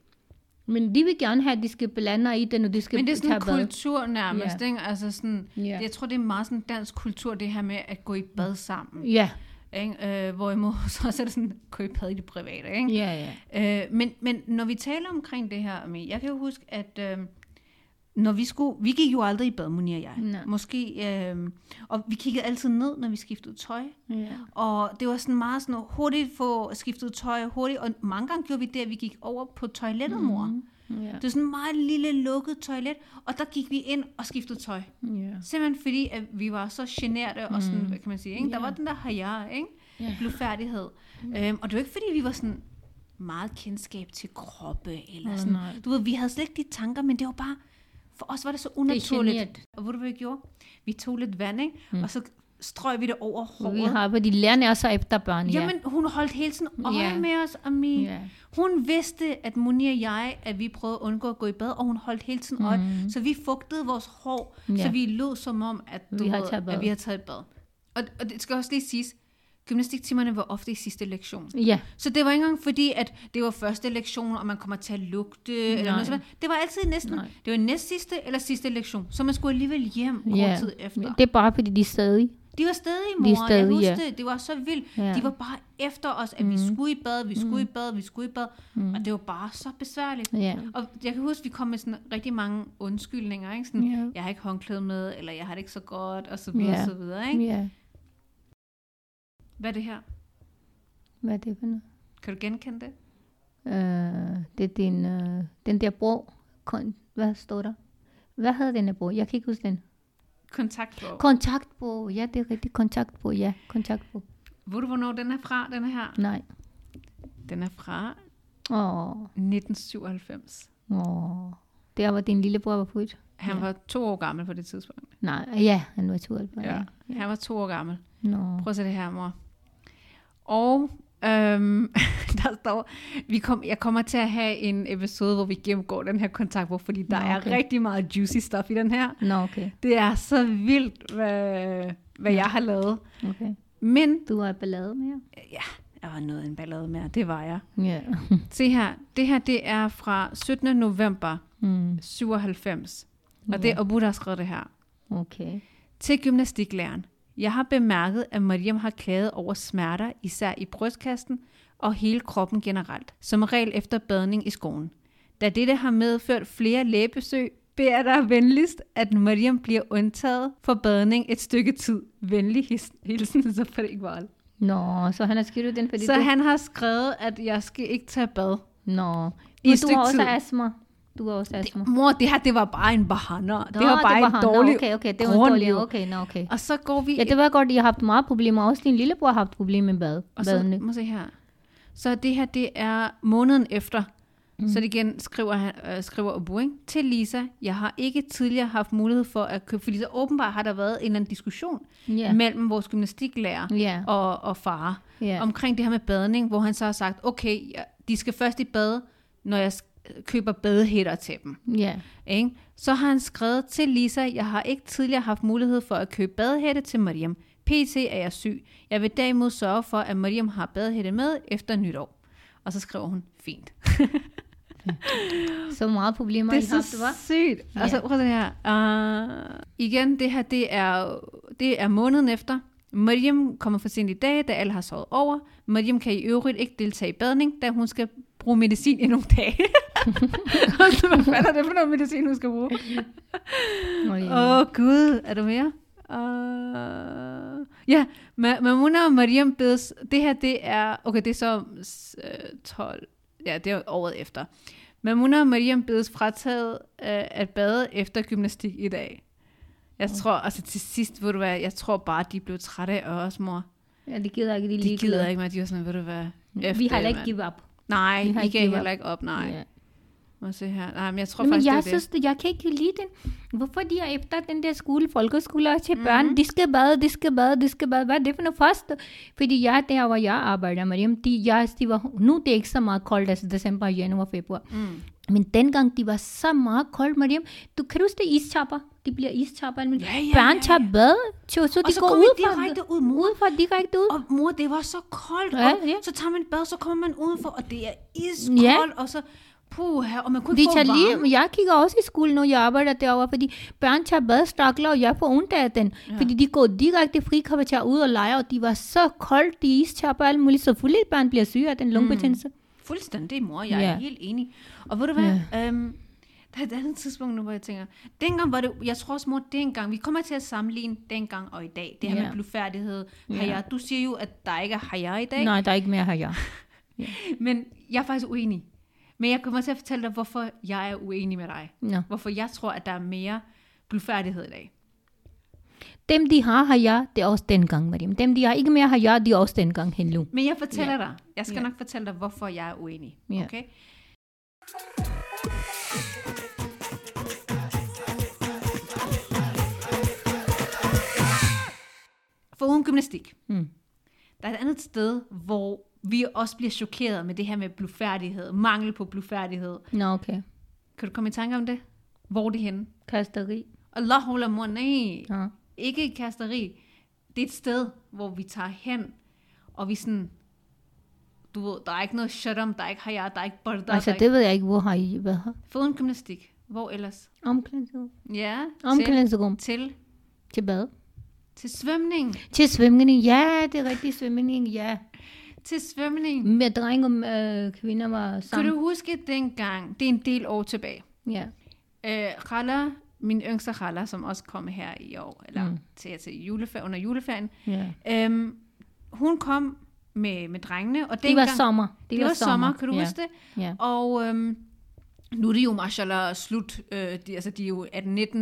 Speaker 2: Men de vil gerne have, at de skal blande sig i den, og de skal
Speaker 1: Men det er sådan
Speaker 2: tage
Speaker 1: en kultur nærmest,
Speaker 2: Ja.
Speaker 1: yeah. ikke? Altså sådan,
Speaker 2: Ja.
Speaker 1: yeah. jeg tror, det er meget sådan dansk kultur, det her med at gå i bad sammen.
Speaker 2: Ja,
Speaker 1: Ikke? Øh, hvorimod så er det sådan, gå i bad i det private, ikke?
Speaker 2: ja, ja.
Speaker 1: Øh, men, men når vi taler omkring det her, Ami, jeg kan jo huske, at øh, når vi skulle, vi gik jo aldrig i bad, Moni og jeg.
Speaker 2: Nej.
Speaker 1: Måske, øh, og vi kiggede altid ned, når vi skiftede tøj.
Speaker 2: ja.
Speaker 1: Og det var sådan meget sådan hurtigt få skiftet tøj hurtigt, og mange gange gjorde vi det, at vi gik over på toilettet, mor.
Speaker 2: Mm. ja.
Speaker 1: Det var sådan en meget lille lukket toilet, og der gik vi ind og skiftede tøj.
Speaker 2: ja.
Speaker 1: Simpelthen fordi, at vi var så generte og sådan, hvad kan man sige, ikke? Der
Speaker 2: Mm. Ja.
Speaker 1: var den der hajar, ikke?
Speaker 2: Ja. Mm.
Speaker 1: Blufærdighed. Øhm, og det var ikke fordi, vi var sådan meget kendskab til kroppe, eller
Speaker 2: Åh,
Speaker 1: sådan.
Speaker 2: nej.
Speaker 1: Du ved, vi havde slet ikke de tanker, men det var bare, for os var det så
Speaker 2: genert.
Speaker 1: unaturligt. Og ved du, hvad vi gjorde? Vi tog lidt vand, ikke? Mm. Og så strøg vi det over håret.
Speaker 2: Vi har, fordi lærerne er så efter børn, ja.
Speaker 1: Jamen, hun holdt hele tiden øje
Speaker 2: Ja.
Speaker 1: med os, Ami.
Speaker 2: Ja.
Speaker 1: Hun vidste, at Moni og jeg, at vi prøvede at undgå at gå i bad, og hun holdt hele tiden øje. Mm. Så vi fugtede vores hår,
Speaker 2: Ja.
Speaker 1: så vi lød som om, at, du
Speaker 2: Vi har
Speaker 1: ved,
Speaker 2: taget bad.
Speaker 1: at vi har taget et bad. Og, og det skal også lige siges, gymnastiktimerne var ofte i sidste lektion.
Speaker 2: Ja,
Speaker 1: Så det var ikke engang fordi, at det var første lektion, og man kommer til at lugte. Eller
Speaker 2: Nej.
Speaker 1: noget sådan. Det var altid næsten,
Speaker 2: Nej.
Speaker 1: Nej. det var næst sidste eller sidste lektion, så man skulle alligevel hjem kort
Speaker 2: ja.
Speaker 1: tid efter.
Speaker 2: det er bare fordi, de er stadig.
Speaker 1: De var stadig i
Speaker 2: Vi
Speaker 1: morgen,
Speaker 2: er
Speaker 1: jeg
Speaker 2: stadig,
Speaker 1: husker
Speaker 2: ja.
Speaker 1: det. Det var så vildt.
Speaker 2: Ja.
Speaker 1: Ja. De var bare efter os, at mm. vi skulle i bad, vi skulle mm. i bad, vi skulle i bad. Mm. Og det var bare så besværligt.
Speaker 2: Ja.
Speaker 1: Og jeg kan huske, at vi kom med sådan rigtig mange undskyldninger. Ikke? Sådan,
Speaker 2: Ja.
Speaker 1: Jeg har ikke håndklæde med, eller jeg har det ikke så godt, og så videre,
Speaker 2: Ja.
Speaker 1: ja. så videre. Ikke?
Speaker 2: Ja,
Speaker 1: Hvad er det her?
Speaker 2: hvad er det for noget?
Speaker 1: Kan du genkende det?
Speaker 2: Øh, det er din, øh, den der bro. Kon- hvad står der? Hvad hedder den der bro? Jeg kan ikke huske den.
Speaker 1: Kontaktbog.
Speaker 2: Kontaktbog. Ja, det er rigtigt. Kontaktbog. Ja, kontaktbog.
Speaker 1: Ved du, hvornår den er fra, den her?
Speaker 2: Nej.
Speaker 1: Den er fra
Speaker 2: Åh,
Speaker 1: 1997.
Speaker 2: åh. Der var din lillebror var på et.
Speaker 1: Han ja. var to år gammel på det tidspunkt.
Speaker 2: Nej, ja, han var 12. var
Speaker 1: Ja.
Speaker 2: det?
Speaker 1: Han var to år gammel.
Speaker 2: Nå.
Speaker 1: Prøv at se det her, mor. Og øhm, der står, vi kom, jeg kommer til at have en episode, hvor vi gennemgår den her kontaktbog, fordi der
Speaker 2: Nå,
Speaker 1: okay.
Speaker 2: okay.
Speaker 1: er rigtig meget juicy stuff i den her.
Speaker 2: Nå, okay.
Speaker 1: Det er så vildt, hvad, hvad jeg har lavet.
Speaker 2: okay.
Speaker 1: Men
Speaker 2: Du var i ballade med
Speaker 1: jeg var noget af en ballade med, det var jeg.
Speaker 2: Ja.
Speaker 1: Se her, det her det er fra 17. november
Speaker 2: Mm,
Speaker 1: 97. Og det er Abu, der har skrevet det her.
Speaker 2: okay.
Speaker 1: Til gymnastiklæreren. Jeg har bemærket, at Mariam har klaget over smerter, især i brystkassen og hele kroppen generelt, som regel efter badning i skoven. Da dette har medført flere lægebesøg, beder jeg dig venligst, at Mariam bliver undtaget for badning et stykke tid. Venlig his- hilsen, så for det ikke var
Speaker 2: Nå, så han har skrevet den, fordi
Speaker 1: Så
Speaker 2: du...
Speaker 1: han har skrevet, at jeg skal ikke tage bad.
Speaker 2: Nå.
Speaker 1: I
Speaker 2: Men
Speaker 1: et
Speaker 2: du
Speaker 1: stykke
Speaker 2: har også
Speaker 1: tid.
Speaker 2: astma. Du har også astma.
Speaker 1: Mor, det her, det var bare en bahana. Det
Speaker 2: Nå,
Speaker 1: var bare en
Speaker 2: ham. Nå,
Speaker 1: dårlig
Speaker 2: Okay, okay, det var en
Speaker 1: grund,
Speaker 2: dårlig.
Speaker 1: jo.
Speaker 2: Okay, nå, okay.
Speaker 1: Og så går vi
Speaker 2: Ja, det var godt, I har haft meget problemer. Også din lillebror har haft problemer med bad.
Speaker 1: Og så,
Speaker 2: badene.
Speaker 1: må se her. Så det her, det er måneden efter. Mm. Så det igen skriver, han, øh, skriver Obu, ikke? Til Lisa, jeg har ikke tidligere haft mulighed for at købe, fordi så åbenbart har der været en eller anden diskussion
Speaker 2: Ja.
Speaker 1: yeah. mellem vores gymnastiklærer
Speaker 2: Ja.
Speaker 1: og, og far
Speaker 2: Ja.
Speaker 1: yeah. omkring det her med badning, hvor han så har sagt, okay, jeg- de skal først i bad, når jeg s- køber badehætter til dem.
Speaker 2: Ja.
Speaker 1: Ikke? Så har han skrevet til Lisa, jeg har ikke tidligere haft mulighed for at købe badehætte til Mariam. PT er jeg syg. Jeg vil derimod sørge for, at Mariam har badehætte med efter nytår. Og så skriver hun, fint.
Speaker 2: Så meget problemer, I
Speaker 1: det er
Speaker 2: har haft,
Speaker 1: så
Speaker 2: hva'?
Speaker 1: sygt.
Speaker 2: Ja.
Speaker 1: Altså, prøv at se her. Uh, igen, det her, det er, det er måneden efter. Mariam kommer for sent i dag, da alle har sovet over. Mariam kan i øvrigt ikke deltage i badning, da hun skal bruge medicin i nogle dage. Altså, Hvad fanden er det for noget medicin, hun skal bruge?
Speaker 2: Nå, ja.
Speaker 1: Åh, oh, Gud, er der mere? Uh, ja, Ma- Mamuna og Mariam bedes, det her det er, okay, det er så øh, 12, ja, det er året efter. Mamuna og Mariam bedes frataget øh, at bade efter gymnastik i dag. Jeg tror, altså til sidst, ved du hvad, jeg tror bare, de blev trætte af os, mor.
Speaker 2: Ja, det gider ikke, de,
Speaker 1: De gider ikke, men de var sådan, ved du hvad,
Speaker 2: Vi har
Speaker 1: det,
Speaker 2: heller ikke
Speaker 1: mand.
Speaker 2: give op.
Speaker 1: Nej,
Speaker 2: vi har
Speaker 1: I
Speaker 2: ikke
Speaker 1: kan
Speaker 2: givet
Speaker 1: heller
Speaker 2: op.
Speaker 1: ikke op, nej.
Speaker 2: Ja.
Speaker 1: Må se her. Nej, men jeg tror
Speaker 2: Men
Speaker 1: faktisk,
Speaker 2: jeg
Speaker 1: det er
Speaker 2: synes, det. jeg kan ikke lide den. Hvorfor de er efter den der skole, folkeskole og til
Speaker 1: Mhm.
Speaker 2: børn, mm-hmm. de skal bade, de skal bade, de skal bade. Hvad er det for noget først? Fordi jeg, der hvor jeg arbejder, Mariam, de, jeg, de var, nu det er ikke så meget koldt, altså december, januar, februar.
Speaker 1: Mhm.
Speaker 2: Mm. Men dengang de var så meget koldt, Mariam, du kan du huske det ischapper? De bliver ischapper, men ja,
Speaker 1: ja,
Speaker 2: ja,
Speaker 1: ja,
Speaker 2: børn
Speaker 1: ja,
Speaker 2: tager bad, så, så de
Speaker 1: så
Speaker 2: går
Speaker 1: kommer
Speaker 2: ud
Speaker 1: de
Speaker 2: fra,
Speaker 1: direkte ud, mor.
Speaker 2: ud fra direkte ud.
Speaker 1: Og mor, det var så koldt.
Speaker 2: Ja,
Speaker 1: Ja,
Speaker 2: ja.
Speaker 1: ja. Så tager man et bad, så kommer man udenfor, og det er iskoldt,
Speaker 2: Ja.
Speaker 1: ja. og så... Puha, og man kunne
Speaker 2: De
Speaker 1: ikke få
Speaker 2: tager
Speaker 1: varme.
Speaker 2: lige, jeg kigger også i skolen, når jeg arbejder derovre, fordi børn tager badstrakler, og jeg får ondt af den. Ja. Fordi de går direkte frikvarter ud og leger, og de var så koldt, de istapper og alt muligt. Selvfølgelig børn bliver syge af den lungebetændelse. Mm.
Speaker 1: Fuldstændig, mor. Jeg
Speaker 2: Ja.
Speaker 1: er helt enig. Og ved du hvad? Ja. Øhm, der er et andet tidspunkt nu, hvor jeg tænker... Dengang var det... Jeg tror også, mor, dengang... Vi kommer til at sammenligne dengang og i dag. Det her
Speaker 2: Ja.
Speaker 1: ja. med blufærdighed.
Speaker 2: Ja.
Speaker 1: Ja. Du siger jo, at der ikke er hajar i dag.
Speaker 2: Nej, der er ikke mere her, jeg.
Speaker 1: Men jeg er faktisk uenig. Men jeg kommer til at fortælle dig, hvorfor jeg er uenig med dig.
Speaker 2: No.
Speaker 1: Hvorfor jeg tror, at der er mere blufærdighed i dag.
Speaker 2: Dem, de har her, jeg, det er også dengang, Mariam. Dem, de har ikke mere her, jeg, de er også dengang hen nu.
Speaker 1: Men jeg fortæller dig. Jeg skal
Speaker 2: Ja.
Speaker 1: nok fortælle dig, hvorfor jeg er uenig.
Speaker 2: Ja.
Speaker 1: Okay? For uden gymnastik.
Speaker 2: Mm.
Speaker 1: Der er et andet sted, hvor vi også bliver chokeret med det her med blufærdighed. Mangel på blufærdighed.
Speaker 2: Nå, okay.
Speaker 1: Kan du komme i tanke om det? Hvor er det henne?
Speaker 2: Kasteri.
Speaker 1: Allahu lamor, nej.
Speaker 2: Ja.
Speaker 1: Ikke et kasteri. Det er et sted, hvor vi tager hen, Og vi er sådan, du ved, der er ikke noget sharam, der er ikke hayat, der er ikke barda,
Speaker 2: Altså,
Speaker 1: der er
Speaker 2: det ved jeg ikke, hvor har I været?
Speaker 1: ikke... Foruden gymnastik. Hvor ellers?
Speaker 2: Omklædningsrum.
Speaker 1: Ja, til,
Speaker 2: Omklædningsrum.
Speaker 1: til,
Speaker 2: Til bad.
Speaker 1: til svømning.
Speaker 2: Til svømning. Ja, det er rigtigt svømning, ja.
Speaker 1: Til svømning.
Speaker 2: Med drenge og øh, kvinder var
Speaker 1: Kan
Speaker 2: sammen.
Speaker 1: du huske dengang, det er en del år tilbage,
Speaker 2: Ja.
Speaker 1: øh, Ralla, min yngste Ralla, som også kom her i år, eller mm. til, til julefer, under juleferien,
Speaker 2: ja.
Speaker 1: øhm, hun kom med, med drengene, og
Speaker 2: Det var
Speaker 1: dengang,
Speaker 2: sommer.
Speaker 1: det var sommer, kan du
Speaker 2: ja.
Speaker 1: ja. huske det?
Speaker 2: Ja.
Speaker 1: Og øhm, nu er det jo mashallah slut, øh, de, altså de er jo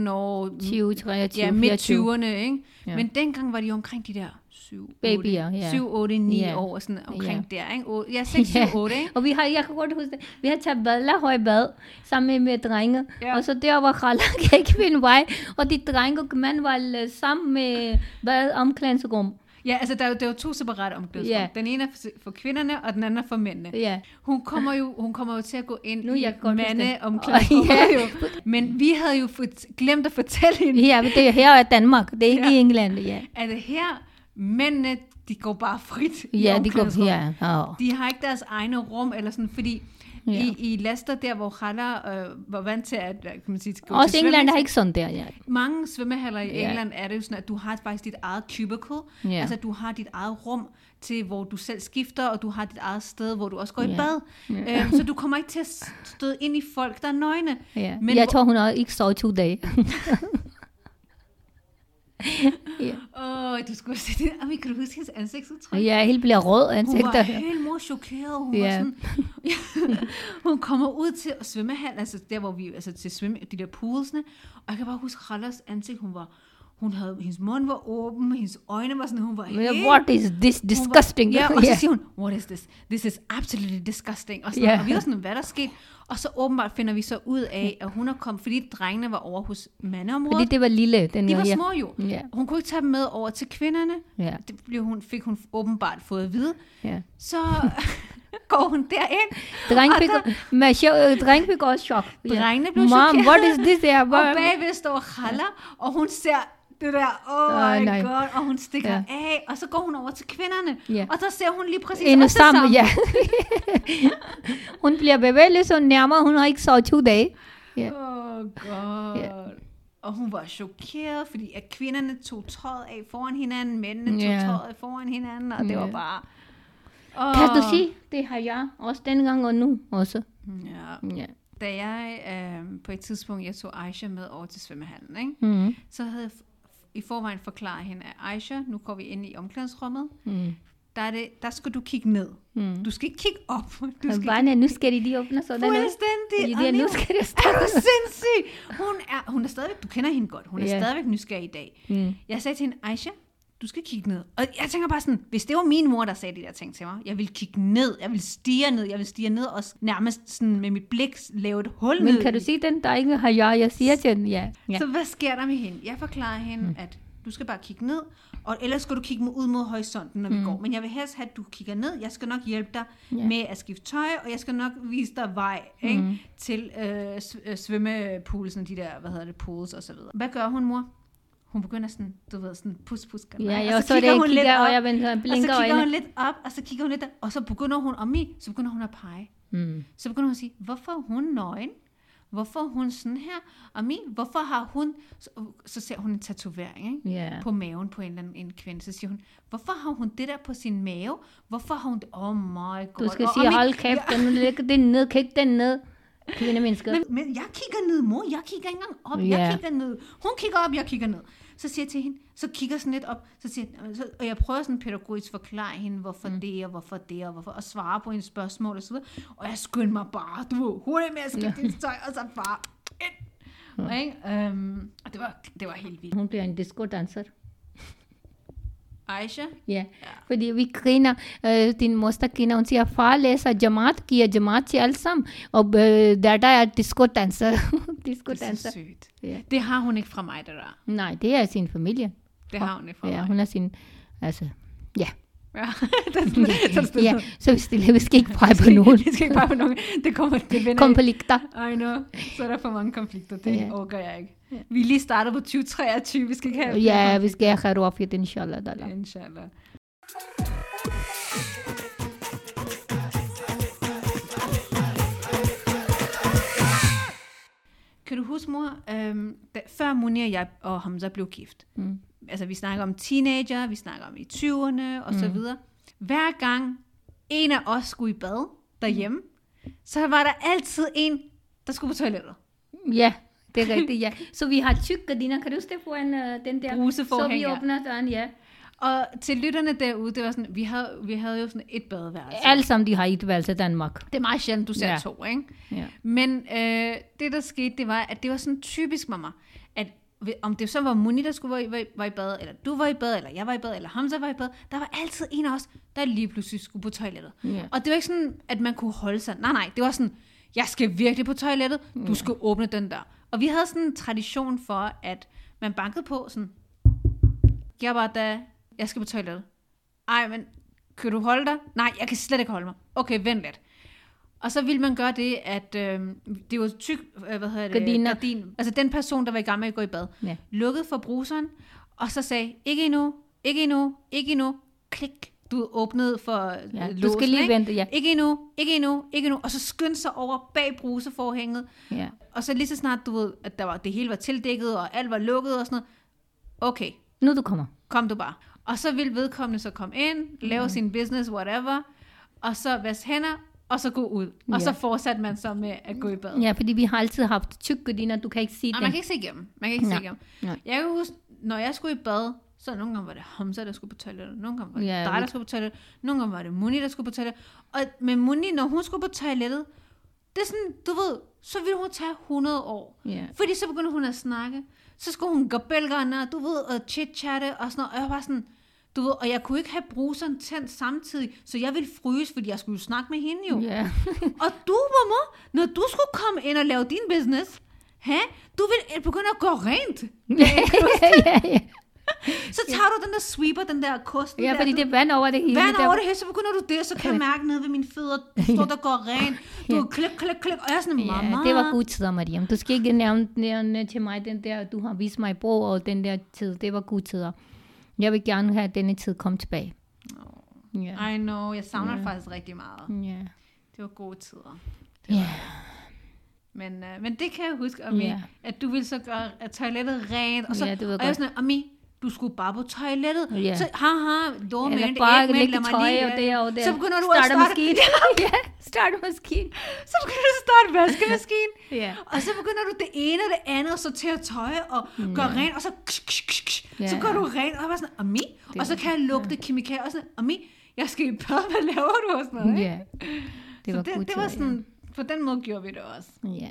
Speaker 1: 18-19 år,
Speaker 2: 20, 23,
Speaker 1: ja,
Speaker 2: 24.
Speaker 1: midt 20'erne, ikke?
Speaker 2: Ja.
Speaker 1: Ja. Men dengang var de jo omkring de der 7,
Speaker 2: Babyer,
Speaker 1: 8,
Speaker 2: ja.
Speaker 1: 7, 8, 9
Speaker 2: Ja.
Speaker 1: år, sådan omkring der, ikke? O- ja, 6, 7,
Speaker 2: Ja.
Speaker 1: 8, ikke?
Speaker 2: Og vi har, jeg kan godt huske det, vi har taget Badlahøj bad sammen med, med drenge.
Speaker 1: Ja.
Speaker 2: Og så der var Khalak ikke finde vej. Og de drenge og mænd var øh, sammen med bad omklædningsrum.
Speaker 1: Ja, altså der er jo, der er jo to separate omklædningsrum.
Speaker 2: Ja.
Speaker 1: Yeah. Den ene er for, for kvinderne, og den anden er for mændene.
Speaker 2: Ja.
Speaker 1: Hun kommer jo, hun kommer jo til at gå ind
Speaker 2: Nu
Speaker 1: nu,
Speaker 2: er
Speaker 1: i
Speaker 2: jeg godt huske
Speaker 1: mande
Speaker 2: det.
Speaker 1: omklædningsrummet.
Speaker 2: Åh, ja.
Speaker 1: jo. Men vi havde jo fort, glemt at fortælle hende,
Speaker 2: Ja, men det er her er Danmark, det er ikke ja.
Speaker 1: Ja.
Speaker 2: i England. Ja,
Speaker 1: at her, mændene, de går bare frit i
Speaker 2: ja de går
Speaker 1: omklædningsrummet.
Speaker 2: her. Ja.
Speaker 1: De har ikke deres egne rum, eller sådan, fordi
Speaker 2: Ja.
Speaker 1: ja. i, i Leicester, der hvor Khala øh, var vant til at, hvad kan man sige, gå
Speaker 2: Også
Speaker 1: til
Speaker 2: England
Speaker 1: svømning,
Speaker 2: er ikke sådan der, ja.
Speaker 1: mange svømmehaller i
Speaker 2: Ja.
Speaker 1: England er det jo sådan, at du har faktisk dit eget cubicle,
Speaker 2: Ja.
Speaker 1: altså du har dit eget rum til, hvor du selv skifter, og du har dit eget sted, hvor du også går
Speaker 2: Ja.
Speaker 1: i bad.
Speaker 2: Ja.
Speaker 1: Øhm, så du kommer ikke til at støde ind i folk, der er nøgne.
Speaker 2: ja. Men
Speaker 1: Men
Speaker 2: jeg
Speaker 1: hvor-
Speaker 2: tror, hun har ikke sovet to dage. ja.
Speaker 1: Åh, du skulle se det. Ami, kan du huske hendes ansigtsudtryk?
Speaker 2: ja, helt bliver rød
Speaker 1: Hun var
Speaker 2: ansigter.
Speaker 1: helt mor chokeret. Hun,
Speaker 2: Ja.
Speaker 1: yeah. var sådan, hun kommer ud til svømmehallen, altså der hvor vi, altså til svømme, de der poolsene, og jeg kan bare huske Rallers ansigt, hun var, hun havde, hendes mund var åben, hendes øjne var sådan, hun var helt
Speaker 2: What is this
Speaker 1: Hun var-
Speaker 2: disgusting?
Speaker 1: Ja, og så
Speaker 2: Ja.
Speaker 1: siger hun, what is this? This is absolutely disgusting. Og, sådan,
Speaker 2: Ja.
Speaker 1: yeah. og vi var sådan, hvad der skete. Og så åbenbart finder vi så ud af, at hun er kommet, fordi drengene var over hos
Speaker 2: Fordi
Speaker 1: mandeområdet.
Speaker 2: det var lille, den
Speaker 1: De var
Speaker 2: ja.
Speaker 1: små jo.
Speaker 2: Ja.
Speaker 1: Hun kunne ikke tage dem med over til kvinderne.
Speaker 2: Ja.
Speaker 1: Det blev hun, fik hun åbenbart fået at vide.
Speaker 2: Ja.
Speaker 1: Så går hun derind.
Speaker 2: Dreng
Speaker 1: og
Speaker 2: fik,
Speaker 1: der-
Speaker 2: men sjov- dreng fik også chok. Ja.
Speaker 1: Drengene blev
Speaker 2: Mom,
Speaker 1: chokeret.
Speaker 2: what is this? Ja, hvor,
Speaker 1: Og bagved står Khala, og hun ser det der, oh
Speaker 2: Åh,
Speaker 1: my
Speaker 2: nej.
Speaker 1: god, og hun stikker
Speaker 2: Ja.
Speaker 1: af, og så går hun over til kvinderne,
Speaker 2: Ja.
Speaker 1: og der ser hun lige præcis
Speaker 2: Inde
Speaker 1: også det
Speaker 2: sammen, ja. hun bliver bevægeløs og nærmere, hun har ikke sovet 20 dage. Ja.
Speaker 1: Åh, oh, god.
Speaker 2: Ja.
Speaker 1: Yeah. Og hun var chokeret, fordi at kvinderne tog tøjet af foran hinanden, mændene tog
Speaker 2: Ja.
Speaker 1: tøjet af foran hinanden, og det
Speaker 2: Ja.
Speaker 1: var bare... Oh.
Speaker 2: Kan du sige, det har jeg også dengang og nu også.
Speaker 1: Ja.
Speaker 2: Ja.
Speaker 1: Da jeg øh, på et tidspunkt, jeg tog Aisha med over til svømmehallen, ikke?
Speaker 2: Mm.
Speaker 1: så havde jeg f- i forvejen forklaret hende, at Aisha, nu går vi ind i omklædningsrummet,
Speaker 2: Mm.
Speaker 1: der, er det, der skal du kigge ned.
Speaker 2: Mm.
Speaker 1: Du skal ikke kigge op. Du
Speaker 2: Du
Speaker 1: skal
Speaker 2: Barne, nu skal de lige åbne sådan noget.
Speaker 1: fuldstændig...
Speaker 2: Ja,
Speaker 1: Og
Speaker 2: det er, nu
Speaker 1: lige-
Speaker 2: skal det
Speaker 1: Er
Speaker 2: starte.
Speaker 1: du sindssyg? Hun er, hun er stadigvæk, du kender hende godt, hun er
Speaker 2: Ja.
Speaker 1: yeah. stadigvæk nysgerrig i dag.
Speaker 2: Mm.
Speaker 1: Jeg sagde til hende, Aisha, du skal kigge ned. Og jeg tænker bare sådan, hvis det var min mor, der sagde de der ting til mig, jeg vil kigge ned, jeg vil stige ned, jeg vil stige ned og s- nærmest sådan med mit blik s- lave et hul
Speaker 2: Men
Speaker 1: ned.
Speaker 2: kan du
Speaker 1: i-
Speaker 2: sige den, der ikke har jeg, jeg siger til den, ja. ja.
Speaker 1: Så hvad sker der med hende? Jeg forklarer hende, mm. at du skal bare kigge ned, og ellers skal du kigge mod- ud mod horisonten, når mm. vi går. Men jeg vil helst have, at du kigger ned. Jeg skal nok hjælpe dig
Speaker 2: Ja.
Speaker 1: yeah. med at skifte tøj, og jeg skal nok vise dig vej ikke? Mm. til øh, sv- øh, svømmepoolsen, de der, hvad hedder det, pools og så videre. Hvad gør hun, mor? Hun begynder sådan, du ved, sådan pus, pus, galej.
Speaker 2: Ja,
Speaker 1: Og
Speaker 2: jeg så, det, jeg kigger, og jeg venter,
Speaker 1: og så
Speaker 2: blinker
Speaker 1: kigger hun
Speaker 2: øjnene.
Speaker 1: lidt op, og så kigger hun lidt, og så begynder hun om i, så begynder hun at pege.
Speaker 2: Mm.
Speaker 1: Så begynder hun at sige, hvorfor er hun nøgen? Hvorfor er hun sådan her? Og min, hvorfor har hun... Så, så ser hun en tatovering ikke?
Speaker 2: Ja.
Speaker 1: på maven på en eller anden en kvinde. Så siger hun, hvorfor har hun det der på sin mave? Hvorfor har hun det? Oh my god.
Speaker 2: Du skal
Speaker 1: Og- og
Speaker 2: sige,
Speaker 1: min-
Speaker 2: hold kæft, den lægger den ned, kig den ned. Kvinde mennesker.
Speaker 1: Men, men jeg kigger ned, mor. Jeg kigger ikke engang op.
Speaker 2: Ja.
Speaker 1: Jeg kigger ned. Hun kigger op, jeg kigger ned. Så siger jeg til hende, så kigger sådan lidt op, så siger jeg, så, og jeg prøver sådan pædagogisk at forklare hende, hvorfor mm. det, og hvorfor det, og hvorfor, og svare på hendes spørgsmål og så videre. Og jeg skynder mig bare, du ved, hurtigt med at skifte dit tøj, og så bare ind.
Speaker 2: Mm.
Speaker 1: Og, ikke? Øhm, og det var, det var helt vildt.
Speaker 2: Hun bliver en disco-danser.
Speaker 1: Aisha,
Speaker 2: Ja, fordi vi griner. Øh, din moster griner. Hun siger, far læser jamat, giver jamat til alle sammen. Og øh, datter er disco-danser.
Speaker 1: det er så
Speaker 2: disco-danser.
Speaker 1: sygt.
Speaker 2: Ja.
Speaker 1: Det har hun ikke fra mig, det der.
Speaker 2: Nej, det er sin familie.
Speaker 1: Det har hun ikke fra
Speaker 2: Ja,
Speaker 1: mig.
Speaker 2: hun er sin... Altså, ja.
Speaker 1: Ja, det er sådan, det er sådan,
Speaker 2: ja, så vi, stille, vi skal ikke pege på nogen.
Speaker 1: Det skal ikke bare på nogen. Det kommer, det vender
Speaker 2: Konflikter.
Speaker 1: I know. Så er der for mange konflikter. Det
Speaker 2: Ja.
Speaker 1: yeah. overgår jeg ikke. Vi er lige startet på 2023. Vi skal ikke have
Speaker 2: Ja, vi skal have råd for det, inshallah. Dalla.
Speaker 1: Inshallah. Kan du huske, mor, øhm, da, før Munir og jeg og Hamza blev gift,
Speaker 2: Mm.
Speaker 1: altså vi snakker om teenager, vi snakker om i 20'erne og
Speaker 2: Mm.
Speaker 1: så videre. Hver gang en af os skulle i bad derhjemme, så var der altid en, der skulle på toilettet.
Speaker 2: Ja, det er rigtigt, ja. Så vi har tyk gardiner, kan du huske det foran øh, den der? Så
Speaker 1: Bruseforhæng,
Speaker 2: vi
Speaker 1: ja.
Speaker 2: åbner døren, ja.
Speaker 1: Og til lytterne derude, det var sådan, vi havde, vi havde jo sådan et badeværelse.
Speaker 2: Alle sammen, de har et valg til Danmark.
Speaker 1: Det er meget sjældent, du ser
Speaker 2: Ja.
Speaker 1: ja. to, ikke?
Speaker 2: Ja.
Speaker 1: Men øh, det, der skete, det var, at det var sådan typisk mamma, at ved- om det så var Muni, der skulle være i, var, i- var i bad, eller du var i bad, eller jeg var i bad, eller Hamza var i bad, der var altid en af os, der lige pludselig skulle på toilettet.
Speaker 2: Ja.
Speaker 1: Og det var ikke sådan, at man kunne holde sig. Nej, nej, det var sådan, jeg skal virkelig på toilettet, du
Speaker 2: Mm.
Speaker 1: skal åbne den der. Og vi havde sådan en tradition for, at man bankede på sådan, jeg var da, jeg skal på toilettet. Ej, men kan du holde dig? Nej, jeg kan slet ikke holde mig. Okay, vent lidt. Og så ville man gøre det, at øh, det var tyk, øh, hvad hedder det?
Speaker 2: Gardiner.
Speaker 1: Gardin. Altså den person, der var i gang med at gå i bad,
Speaker 2: Ja.
Speaker 1: lukkede for bruseren, og så sagde, ikke endnu, ikke endnu, ikke endnu, klik. Du åbnede for
Speaker 2: Ja,
Speaker 1: ja,
Speaker 2: du skal lige vente, ja.
Speaker 1: Øh, Ikke endnu, ikke endnu, ikke endnu. Og så skyndte sig over bag bruseforhænget.
Speaker 2: ja.
Speaker 1: Og så lige så snart, du ved, at der var, det hele var tildækket, og alt var lukket og sådan noget. Okay,
Speaker 2: Nu du kommer.
Speaker 1: kom du bare. Og så vil vedkommende så komme ind, lave mm. sin business, whatever, og så vaske hænder, og så gå ud. Og
Speaker 2: Ja.
Speaker 1: så fortsatte man så med at gå i bad.
Speaker 2: Ja, fordi vi har altid haft tyk gardiner, du kan ikke se
Speaker 1: Og
Speaker 2: dem.
Speaker 1: man kan ikke se igennem. Man kan ikke
Speaker 2: Nej.
Speaker 1: se igennem.
Speaker 2: Nej.
Speaker 1: Jeg kan huske, når jeg skulle i bad, så nogle gange var det Hamza, der skulle på toilettet, nogle gange var det
Speaker 2: Ja,
Speaker 1: dig, der
Speaker 2: vildt.
Speaker 1: skulle på toilettet, nogle gange var det Muni, der skulle på toilettet. Og med Muni, når hun skulle på toilettet, det er sådan, du ved, så ville hun tage 100 år.
Speaker 2: Ja.
Speaker 1: Fordi så begyndte hun at snakke. Så skulle hun gå bælgerne, du ved, og chit-chatte og sådan noget. Og jeg var bare sådan, du ved, og jeg kunne ikke have bruseren tændt samtidig, så jeg ville fryse, fordi jeg skulle jo snakke med hende jo.
Speaker 2: Ja.
Speaker 1: Og du, mamma, når du skulle komme ind og lave din business, hæ, du vil begynde at gøre rent.
Speaker 2: ja, ja.
Speaker 1: Så tager du den der sweeper, den der kosten
Speaker 2: ja,
Speaker 1: der,
Speaker 2: fordi
Speaker 1: du,
Speaker 2: det er vand over det hele.
Speaker 1: vand
Speaker 2: der-
Speaker 1: over det hele, så begynder du det, så kan jeg mærke nede ved mine fødder, du står der og går rent, du er klik, klik, klik, og jeg er sådan, mamma.
Speaker 2: Ja, det var gode tider, Mariam. Du skal ikke nævne, nævne til mig den der, du har vist mig bro, og den der tid. Det var gode tider. Jeg vil gerne have, at denne tid kom tilbage. Ja.
Speaker 1: I know, jeg savner det faktisk rigtig meget.
Speaker 2: Ja.
Speaker 1: Det var gode tider.
Speaker 2: Ja.
Speaker 1: Men, øh, men det kan jeg huske, Ami,
Speaker 2: Ja.
Speaker 1: at du ville så gøre at toilettet rent, og, så,
Speaker 2: Ja, det ved jeg
Speaker 1: og jeg var
Speaker 2: godt.
Speaker 1: sådan, Ami, du skulle bare på toilettet.
Speaker 2: Ja.
Speaker 1: Så haha, dumme,
Speaker 2: Eller
Speaker 1: det
Speaker 2: bare
Speaker 1: er ikke med,
Speaker 2: lægge
Speaker 1: lad mig
Speaker 2: tøj
Speaker 1: lige,
Speaker 2: og
Speaker 1: øh,
Speaker 2: det og det.
Speaker 1: Så begynder du
Speaker 2: starter
Speaker 1: at starte,
Speaker 2: maskinen. ja, starter maskinen.
Speaker 1: så begynder du at starte vaskemaskinen.
Speaker 2: Ja.
Speaker 1: Og så begynder du det ene og det andet, og sortere tøj og gøre rent, og så, ksh, ksh, ksh, ksh, så
Speaker 2: Mm. Ja.
Speaker 1: går du rent, og jeg var sådan, Ami, og så kan jeg lugte kemikalier, og sådan, Ami, jeg skal i bad, hvad laver du, og sådan noget, ikke?
Speaker 2: ja. Det
Speaker 1: så
Speaker 2: var gode
Speaker 1: det, det
Speaker 2: tider,
Speaker 1: var sådan, på den måde gjorde vi det også.
Speaker 2: Ja. ja.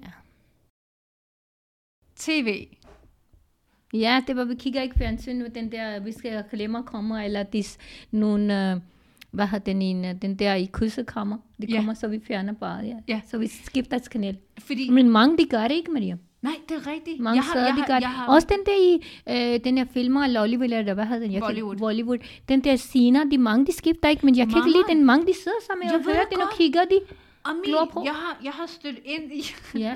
Speaker 1: TV.
Speaker 2: Ja, det var, vi kigger ikke fjernsyn med den der, vi skal glemmer kommer, eller dis, nogle, øh, hvad har den ene, den der i kyssekammer. Det
Speaker 1: Ja.
Speaker 2: kommer, så vi fjerner bare, ja.
Speaker 1: Ja.
Speaker 2: Så vi skifter til kanal.
Speaker 1: Fordi,
Speaker 2: Men mange, de gør det ikke, Maria.
Speaker 1: nej, det er rigtigt.
Speaker 2: Mange steder, de gør det. Også den der i, øh, den her filmer, Lollywood, eller hvad hedder den? Jeg kan-
Speaker 1: Bollywood.
Speaker 2: Bollywood. Den der scener, de mange, de skifter ikke, men jeg kan ikke
Speaker 1: Mange.
Speaker 2: lide den. Mange, de sidder sammen
Speaker 1: Jeg
Speaker 2: og
Speaker 1: ved
Speaker 2: hører
Speaker 1: det
Speaker 2: den og
Speaker 1: godt.
Speaker 2: kigger de.
Speaker 1: Ami,
Speaker 2: glor på.
Speaker 1: jeg har, jeg har stødt ind i,
Speaker 2: Ja.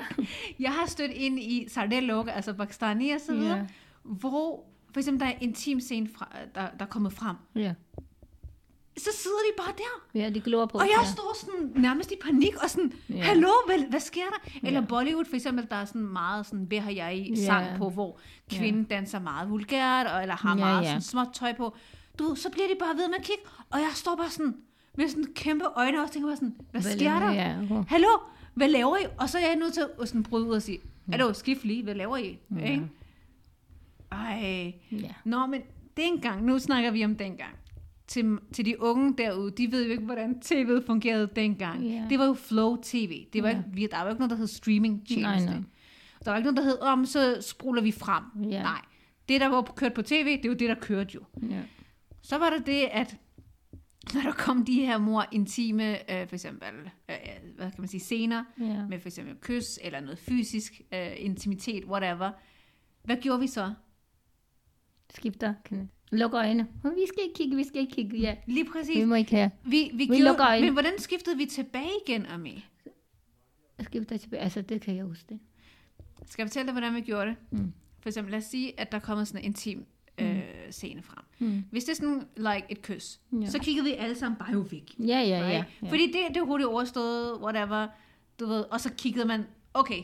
Speaker 1: jeg har stødt ind i Sardel Lok, altså Pakistani og så videre,
Speaker 2: Ja.
Speaker 1: hvor for eksempel der er en intim scene, fra, der, der er kommet frem.
Speaker 2: ja.
Speaker 1: Så sidder de bare der.
Speaker 2: Ja, de glor på.
Speaker 1: Og jeg
Speaker 2: ja.
Speaker 1: står sådan nærmest i panik og sådan,
Speaker 2: Ja.
Speaker 1: hallo, hvad, hvad sker der? Eller Bollywood for eksempel, der er sådan meget sådan, hvad har jeg i sang
Speaker 2: Ja.
Speaker 1: på, hvor kvinden danser meget vulgært, og, eller har
Speaker 2: Ja,
Speaker 1: meget
Speaker 2: ja.
Speaker 1: sådan småt tøj på. Du, så bliver de bare ved med at kigge, og jeg står bare sådan, med sådan kæmpe øjne og tænker bare sådan, hvad
Speaker 2: Hvad
Speaker 1: sker der?
Speaker 2: laver jeg? Hvor-
Speaker 1: Hallo, hvad laver I? Og så er jeg nødt til at sådan bryde ud og sige, hallo, skift lige, hvad laver I? Ja. Ikke? Ej.
Speaker 2: Ja.
Speaker 1: Nå, men dengang, nu snakker vi om dengang. Til, til de unge derude, de ved jo ikke, hvordan tv'et fungerede dengang.
Speaker 2: Ja.
Speaker 1: Det var jo flow tv. Det var
Speaker 2: Ja.
Speaker 1: yeah. ikke, vi- der var jo ikke noget, der hed streaming tjeneste.
Speaker 2: Nej, nej.
Speaker 1: Der var ikke noget, der hed, om så spruler vi frem.
Speaker 2: Ja.
Speaker 1: Nej. Det, der var kørt på tv, det var det, der kørte jo.
Speaker 2: ja.
Speaker 1: Så var der det, at når der kom de her mor intime, øh, for eksempel, øh, øh, hvad kan man sige, scener,
Speaker 2: Ja.
Speaker 1: med for eksempel kys eller noget fysisk øh, intimitet, whatever. Hvad gjorde vi så?
Speaker 2: Skifter kanal. Lukker øjne. "Åh, Vi skal ikke kigge, vi skal ikke kigge. Ja.
Speaker 1: Lige
Speaker 2: Vi
Speaker 1: præcis.
Speaker 2: må ikke have.
Speaker 1: Vi, vi, vi
Speaker 2: lukker
Speaker 1: gjorde,
Speaker 2: øjnene.
Speaker 1: men hvordan skiftede vi tilbage igen, Ami?
Speaker 2: Skifter tilbage. Altså, det kan jeg huske det.
Speaker 1: Skal jeg fortælle dig, hvordan vi gjorde det?
Speaker 2: Mm.
Speaker 1: For eksempel, lad os sige, at der kommer sådan en intim øh, scene frem.
Speaker 2: Mm.
Speaker 1: Hvis det er sådan, like et kys,
Speaker 2: Ja.
Speaker 1: så kiggede vi alle sammen bare jo væk.
Speaker 2: Ja, ja, ja.
Speaker 1: Right?
Speaker 2: ja.
Speaker 1: Fordi det, det er hurtigt overstået, whatever, du ved, og så kiggede man, okay,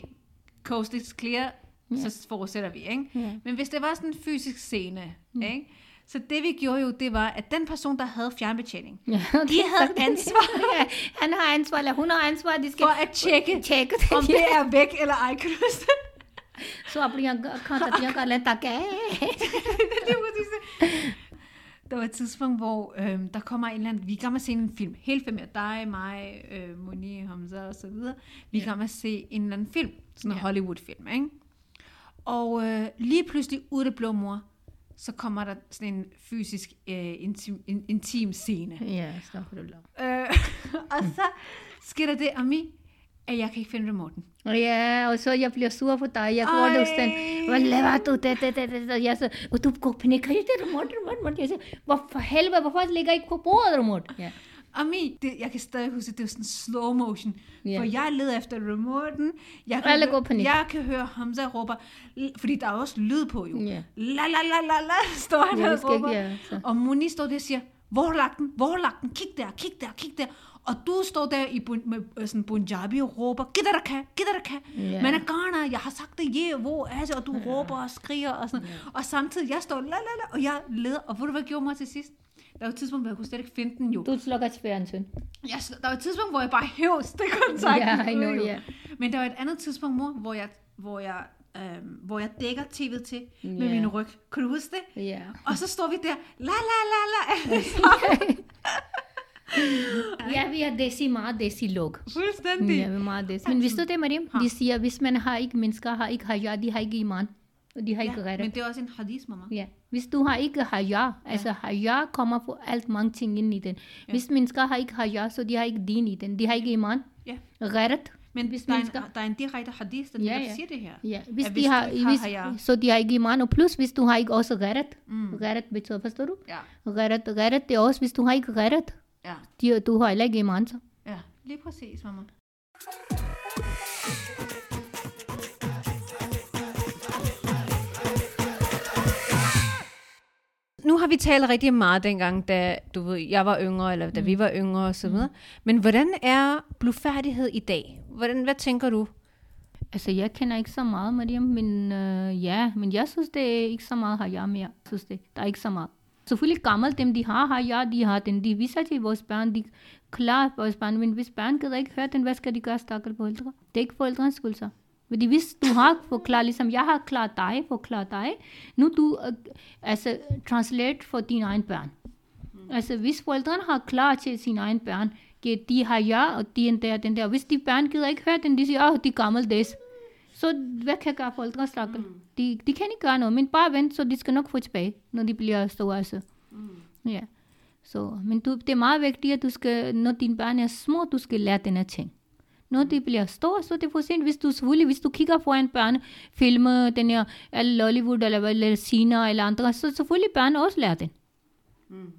Speaker 1: coast is clear,
Speaker 2: Ja.
Speaker 1: yeah. så fortsætter vi, ikke?
Speaker 2: Ja.
Speaker 1: Men hvis det var sådan en fysisk scene,
Speaker 2: Mm.
Speaker 1: ikke? Så det vi gjorde jo, det var, at den person, der havde fjernbetjening,
Speaker 2: Ja,
Speaker 1: de havde ansvar
Speaker 2: ja, han har ansvar, eller hun har ansvar, de skal
Speaker 1: for at tjekke,
Speaker 2: tjekke
Speaker 1: om
Speaker 2: det.
Speaker 1: det er væk eller ej, kan du huske det?
Speaker 2: Så apni akkhon tattiyan kar le tak
Speaker 1: Lige præcis det. Der var et tidspunkt, hvor øhm, der kommer en eller anden, vi er i gang med at se en film, hele familien, dig, mig, øh, Moni, Hamza og så videre, vi er i gang med at se en eller anden film, sådan en
Speaker 2: Ja.
Speaker 1: Hollywood-film, ikke? Og øh, lige pludselig, ud af det blå mor, så kommer der sådan en fysisk øh, intim, in, intim scene.
Speaker 2: Ja, astaghfirullah.
Speaker 1: Øh, og så sker der det, Ami, at jeg kan ikke finde remoten.
Speaker 2: Ja, og så jeg bliver sur på dig. Jeg går det hos den.
Speaker 1: Ej.
Speaker 2: Hvad laver du? Det, det, det, det. det. Jeg så, og du går på nikker. Det er remote, remote, remote. Jeg siger, hvorfor helvede, hvorfor ligger ikke på bordet remote? Ja.
Speaker 1: Ami, det, jeg kan stadig huske, at det var sådan slow motion.
Speaker 2: Ja.
Speaker 1: Yeah. For jeg leder efter remoten. Jeg
Speaker 2: Alle
Speaker 1: hø-
Speaker 2: går i panik.
Speaker 1: Jeg kan høre Hamza råber, l- fordi der er også lyd på jo.
Speaker 2: Ja.
Speaker 1: La la la la la, står han
Speaker 2: Ja,
Speaker 1: ja,
Speaker 2: det
Speaker 1: og
Speaker 2: skal ikke- altså.
Speaker 1: råber.
Speaker 2: ja, så.
Speaker 1: og Moni står der og siger, hvor har du lagt den? Hvor har du lagt den? Kig der, kig der, kig der. Og du står der i bun, med øh, sådan Punjabi og råber, giv dig der kan, giv dig der kan.
Speaker 2: Ja.
Speaker 1: Yeah. Men er garner, jeg har sagt det, yeah, hvor er det? Og du yeah. råber og skriger og sådan. Yeah. Og samtidig, jeg står la la la, og jeg leder. Og ved du, hvad jeg gjorde mig til sidst? Der var et tidspunkt, hvor jeg kunne slet ikke finde den jo.
Speaker 2: Du slukker spæren, søn.
Speaker 1: Jeg, sl- der var et tidspunkt, hvor jeg bare hæv stikkontakten.
Speaker 2: Ja, I
Speaker 1: ud,
Speaker 2: know,
Speaker 1: jo.
Speaker 2: ja.
Speaker 1: Men der var et andet tidspunkt, mor, hvor jeg, hvor jeg, øhm, hvor jeg dækker tv'et til med
Speaker 2: Ja.
Speaker 1: min ryg. Kan du huske det?
Speaker 2: Ja.
Speaker 1: Og så står vi der, la la la la.
Speaker 2: Ja, vi er desi meget desi log.
Speaker 1: Fuldstændig.
Speaker 2: Ja, vi er meget desi. Men vidste du det, Mariam? De siger, hvis man har ikke mennesker, har ikke haja, de har ikke iman. Og de har ikke
Speaker 1: Ja,
Speaker 2: gæret.
Speaker 1: men det er også en hadis, mamma.
Speaker 2: Ja. Hvis du har ikke haja, altså haja kommer på alt mange ting ind i den. Hvis mennesker har ikke haja, så de har ikke din i den. De har ikke iman.
Speaker 1: Ja.
Speaker 2: Gæret.
Speaker 1: Men
Speaker 2: Hvis
Speaker 1: der, er
Speaker 2: man
Speaker 1: en,
Speaker 2: skal-
Speaker 1: der er en direkte hadis, der
Speaker 2: Ja,
Speaker 1: ja,
Speaker 2: ja.
Speaker 1: ja. siger det her.
Speaker 2: Ja. Hvis,
Speaker 1: Ja,
Speaker 2: de
Speaker 1: hvis
Speaker 2: har,
Speaker 1: du ikke har
Speaker 2: hvis,
Speaker 1: haja.
Speaker 2: så de har ikke iman. Og plus, hvis du har ikke også gæret. Mm. Gæret betyder, forstår du?
Speaker 1: Ja,
Speaker 2: Gæret, gæret det er også, hvis du har ikke gæret,
Speaker 1: ja,
Speaker 2: de, du har heller ikke iman. Så.
Speaker 1: ja. Lige præcis, mamma. nu har vi talt rigtig meget dengang, da du ved, jeg var yngre, eller da mm. vi var yngre osv. Mm. Men hvordan er blufærdighed i dag? Hvordan, hvad tænker du?
Speaker 2: Altså, jeg kender ikke så meget, Mariam, men øh, ja, men jeg synes, det er ikke så meget har jeg mere. Jeg synes det, der er ikke så meget. Selvfølgelig gammel dem, de har, har jeg, de har den. De viser til vores børn, de klarer vores børn, men hvis børn gider ikke høre den, hvad skal de gøre, stakkel forældre? Det er ikke forældrens skyld så. Fordi hvis du har forklaret, ligesom jeg har klaret dig, forklaret dig, nu du, øh, altså, translate for dine egne børn. Altså, hvis forældrene har klar til sine egne børn, at de har ja, og de er der, den der. Hvis de børn gider ikke høre den, de siger, åh, de er gammeldags. Så hvad kan gøre forældre stakker? Mm. De, de kan ikke gøre noget, men bare vent, så de skal nok få tilbage, når de bliver store. Altså. Mm. Ja. Så, men du, det er meget vigtigt, at du skal, når dine børn er små, du skal lære den her ting. Når de bliver store, så er det for sent. Hvis du, selvfølgelig, hvis du kigger foran børn, filmer den her, eller Hollywood, eller, hvad, eller Sina, eller andre, så selvfølgelig børn også lærer den.
Speaker 1: Mm.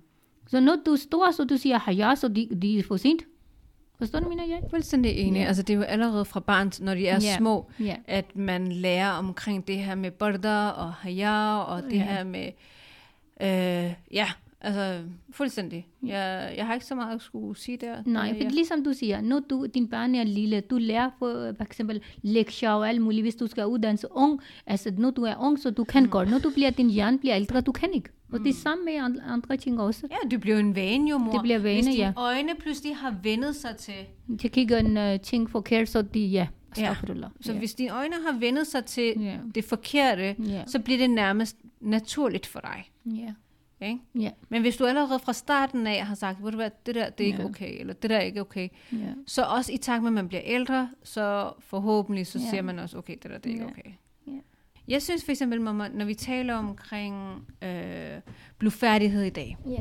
Speaker 2: Så når du er stor, så du siger, haja, så de, de er for sent. Forstår du, mener jeg?
Speaker 3: Fuldstændig enig.
Speaker 2: Ja. Mm.
Speaker 3: Altså, det er jo allerede fra barn, når de er
Speaker 2: Ja.
Speaker 3: små,
Speaker 2: Ja.
Speaker 3: at man lærer omkring det her med borda og haya og det
Speaker 2: Ja.
Speaker 3: her med... Øh, ja, altså fuldstændig.
Speaker 2: Mm.
Speaker 3: Jeg, jeg har ikke så meget at skulle sige der.
Speaker 2: Nej,
Speaker 3: Øh,
Speaker 2: for
Speaker 3: ja.
Speaker 2: ligesom du siger, når du, din børn er lille, du lærer for, for eksempel lektier og alt muligt, hvis du skal uddannes ung, altså når du er ung, så du kan
Speaker 3: Mm.
Speaker 2: godt. Når du bliver, din hjerne bliver ældre, du kan ikke. Og det er samme med and- andre ting også.
Speaker 3: Ja, det bliver jo en vane jo, Mm. mor.
Speaker 2: Det bliver
Speaker 3: Hvis
Speaker 2: vane,
Speaker 3: dine
Speaker 2: ja.
Speaker 3: øjne pludselig har vendet sig til...
Speaker 2: Jeg kigger en uh, ting forkert, så de, ja,
Speaker 3: Ja.
Speaker 2: astaghfirullah.
Speaker 3: Så
Speaker 2: ja.
Speaker 3: hvis dine øjne har vendet sig til
Speaker 2: Ja.
Speaker 3: det forkerte,
Speaker 2: Ja.
Speaker 3: så bliver det nærmest naturligt for dig.
Speaker 2: Ja.
Speaker 3: Ikke?
Speaker 2: Ja.
Speaker 3: Men hvis du allerede fra starten af har sagt, ved du hvad, det der det er ikke
Speaker 2: Ja.
Speaker 3: okay, eller det der er ikke okay,
Speaker 2: Ja.
Speaker 3: så også i takt med, at man bliver ældre, så forhåbentlig så
Speaker 2: Ja.
Speaker 3: ja. ser man også, okay, det der det er ikke
Speaker 2: Ja.
Speaker 3: okay.
Speaker 2: Ja.
Speaker 3: Jeg synes for eksempel, mamma, når vi taler omkring øh, blufærdighed i dag,
Speaker 2: Ja.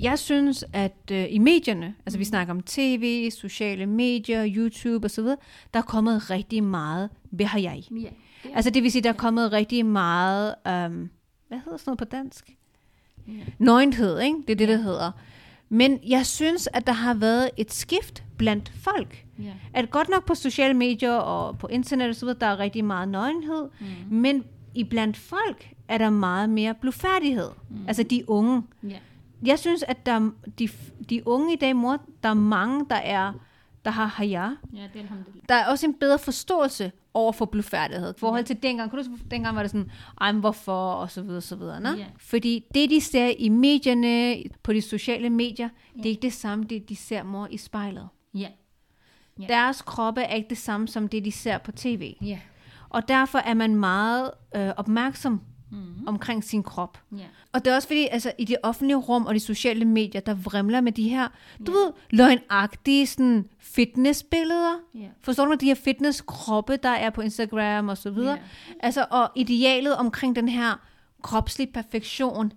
Speaker 3: jeg synes, at øh, i medierne, altså
Speaker 2: Mm.
Speaker 3: vi snakker om tv, sociale medier, YouTube osv., der er kommet rigtig meget behajaj.
Speaker 2: Ja.
Speaker 3: Altså det vil sige, der er kommet rigtig meget, øhm, hvad hedder sådan noget på dansk? Nøgenhed, ikke? Det er det, det hedder. Men jeg synes, at der har været et skift blandt folk.
Speaker 2: Ja.
Speaker 3: At godt nok på sociale medier og på internet og så videre, der er rigtig meget nøgenhed, mm. men i blandt folk er der meget mere blufærdighed. Mm. Altså de unge.
Speaker 2: Ja.
Speaker 3: Jeg synes, at der, er- de, de unge i dag, mor, der er mange, der er der har haya.
Speaker 2: Ja, det er alhamdulillah.
Speaker 3: Der er også en bedre forståelse over for blufærdighed. I forhold til dengang, kunne du huske, dengang var det sådan, ej, men hvorfor, og så videre, så videre. Yeah.
Speaker 2: Ja.
Speaker 3: Fordi det, de ser i medierne, på de sociale medier, det er ikke det samme, det de ser mor i spejlet.
Speaker 2: Ja. Ja.
Speaker 3: Deres kroppe er ikke det samme, som det, de ser på tv.
Speaker 2: Ja.
Speaker 3: Og derfor er man meget øh, opmærksom mm. omkring sin krop.
Speaker 2: Ja.
Speaker 3: Og det er også fordi, altså, i det offentlige rum og de sociale medier, der vrimler med de her, du ved, løgnagtige sådan, fitnessbilleder.
Speaker 2: Ja.
Speaker 3: Forstår du med de her fitnesskroppe, der er på Instagram og så videre? Altså, og idealet omkring den her kropslig perfektion,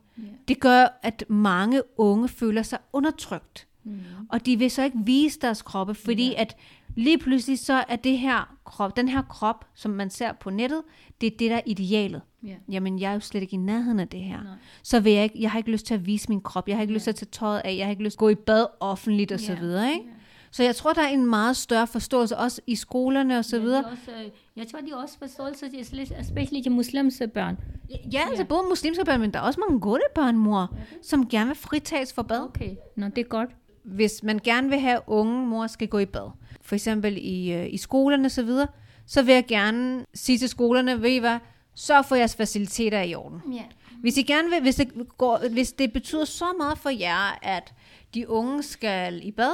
Speaker 3: det gør, at mange unge føler sig undertrykt. Mm.
Speaker 2: Mm-hmm.
Speaker 3: Og de vil så ikke vise deres kroppe, fordi at lige pludselig så er det her krop, den her krop, som man ser på nettet, det er det, der er idealet
Speaker 2: Ja.
Speaker 3: jamen jeg er jo slet ikke i nærheden af det her. Nej. Så vil jeg ikke, jeg har ikke lyst til at vise min krop, jeg har ikke lyst til at tage tøjet af, jeg har ikke lyst til at gå i bad offentligt og så
Speaker 2: Ja.
Speaker 3: videre, ikke? Så jeg tror, der er en meget større forståelse, også i skolerne og så videre.
Speaker 2: Det er også, øh, jeg tror, de har også forståelse til, especially til muslims øh, børn.
Speaker 3: Ja, altså både muslimske børn, men der er også mange gode børn, mor, som gerne vil fritages for bad.
Speaker 2: Okay, nå, det er godt.
Speaker 3: Hvis man gerne vil have, at unge mor skal gå i bad, for eksempel i, øh, i skolerne og så videre, så vil jeg gerne sige til skolerne, ved I hvad, sørg for at jeres faciliteter er i orden.
Speaker 2: Ja.
Speaker 3: Hvis I gerne vil, hvis det, går, hvis det betyder så meget for jer, at de unge skal i bad,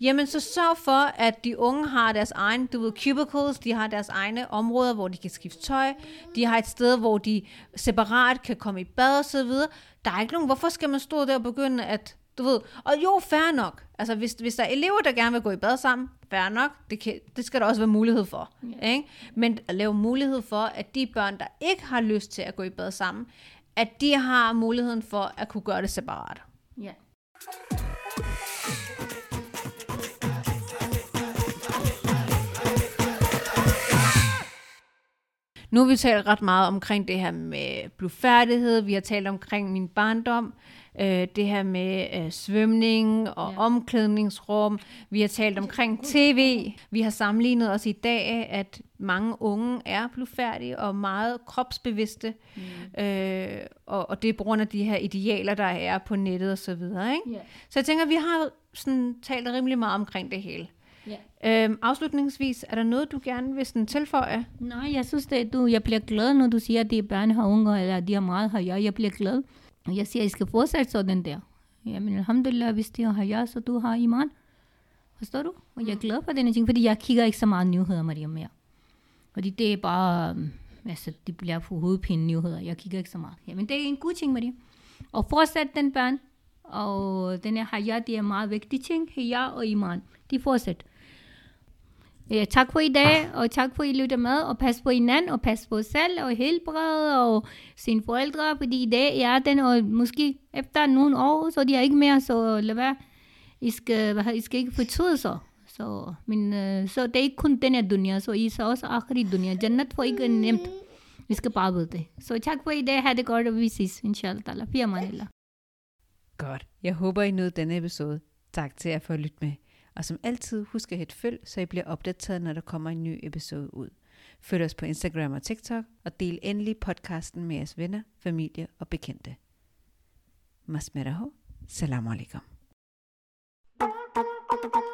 Speaker 3: jamen så sørg for, at de unge har deres egen, du ved, cubicles, de har deres egne områder, hvor de kan skifte tøj, de har et sted, hvor de separat kan komme i bad og så videre. Der er ikke nogen, hvorfor skal man stå der og begynde at, du ved, og jo, fair nok. Altså, hvis, hvis der er elever, der gerne vil gå i bad sammen, fair nok, det, kan, det skal der også være mulighed for. Ikke? Men at lave mulighed for, at de børn, der ikke har lyst til at gå i bad sammen, at de har muligheden for at kunne gøre det separat.
Speaker 2: Ja.
Speaker 3: Nu har vi talt ret meget omkring det her med blufærdighed, vi har talt omkring min barndom, øh, det her med øh, svømning og ja.
Speaker 2: Ja.
Speaker 3: omklædningsrum, vi har talt omkring tv, vi har sammenlignet os i dag, at mange unge er blufærdige og meget kropsbevidste, mm. øh, og, og det er på grund af de her idealer, der er på nettet og så videre. Ikke?
Speaker 2: Ja.
Speaker 3: Så jeg tænker, vi har sådan, talt rimelig meget omkring det hele.
Speaker 2: Ja.
Speaker 3: Øhm, afslutningsvis, er der noget, du gerne vil sådan tilføje?
Speaker 2: Nej, jeg synes, det, du, jeg bliver glad, når du siger, at de børn har unger, eller de har meget haja. Jeg bliver glad. Og Jeg siger, at I skal fortsætte sådan der. Jamen, alhamdulillah, hvis de har haja, så du har iman. Forstår du? Og jeg er glad for denne ting, fordi jeg kigger ikke så meget nyheder, Maria, mere. Fordi det er bare, øhm, altså, det bliver for hovedpine nyheder. Jeg kigger ikke så meget. Jamen, det er en god ting, Maria. Og fortsæt den børn. Og denne haja, det er en meget vigtig ting. Haja og iman. De fortsætter. Ja, tak for i dag, og tak for, at I lytter med, og pas på hinanden, og pas på selv, og helbred, og sine forældre, fordi i dag er den, og måske efter nogle år, så de er ikke mere, så lad være. I skal, hvad, hedder- I skal ikke fortryde så. Så, men, øh, så det er ikke kun den her dunia, så I så også akhri dunia. Jannat får ikke nemt. Vi skal bare vide det. Så tak for i dag. Ha' det godt, og vi ses, inshallah. ta'ala. Fia manillah.
Speaker 4: Godt. Jeg håber, I nåede denne episode. Tak til jer for at lytte med. Og som altid, husk at hætte følg, så I bliver opdateret, når der kommer en ny episode ud. Følg os på Instagram og TikTok, og del endelig podcasten med jeres venner, familie og bekendte. Masmeraho. Salam alaikum.
Speaker 5: Thank you.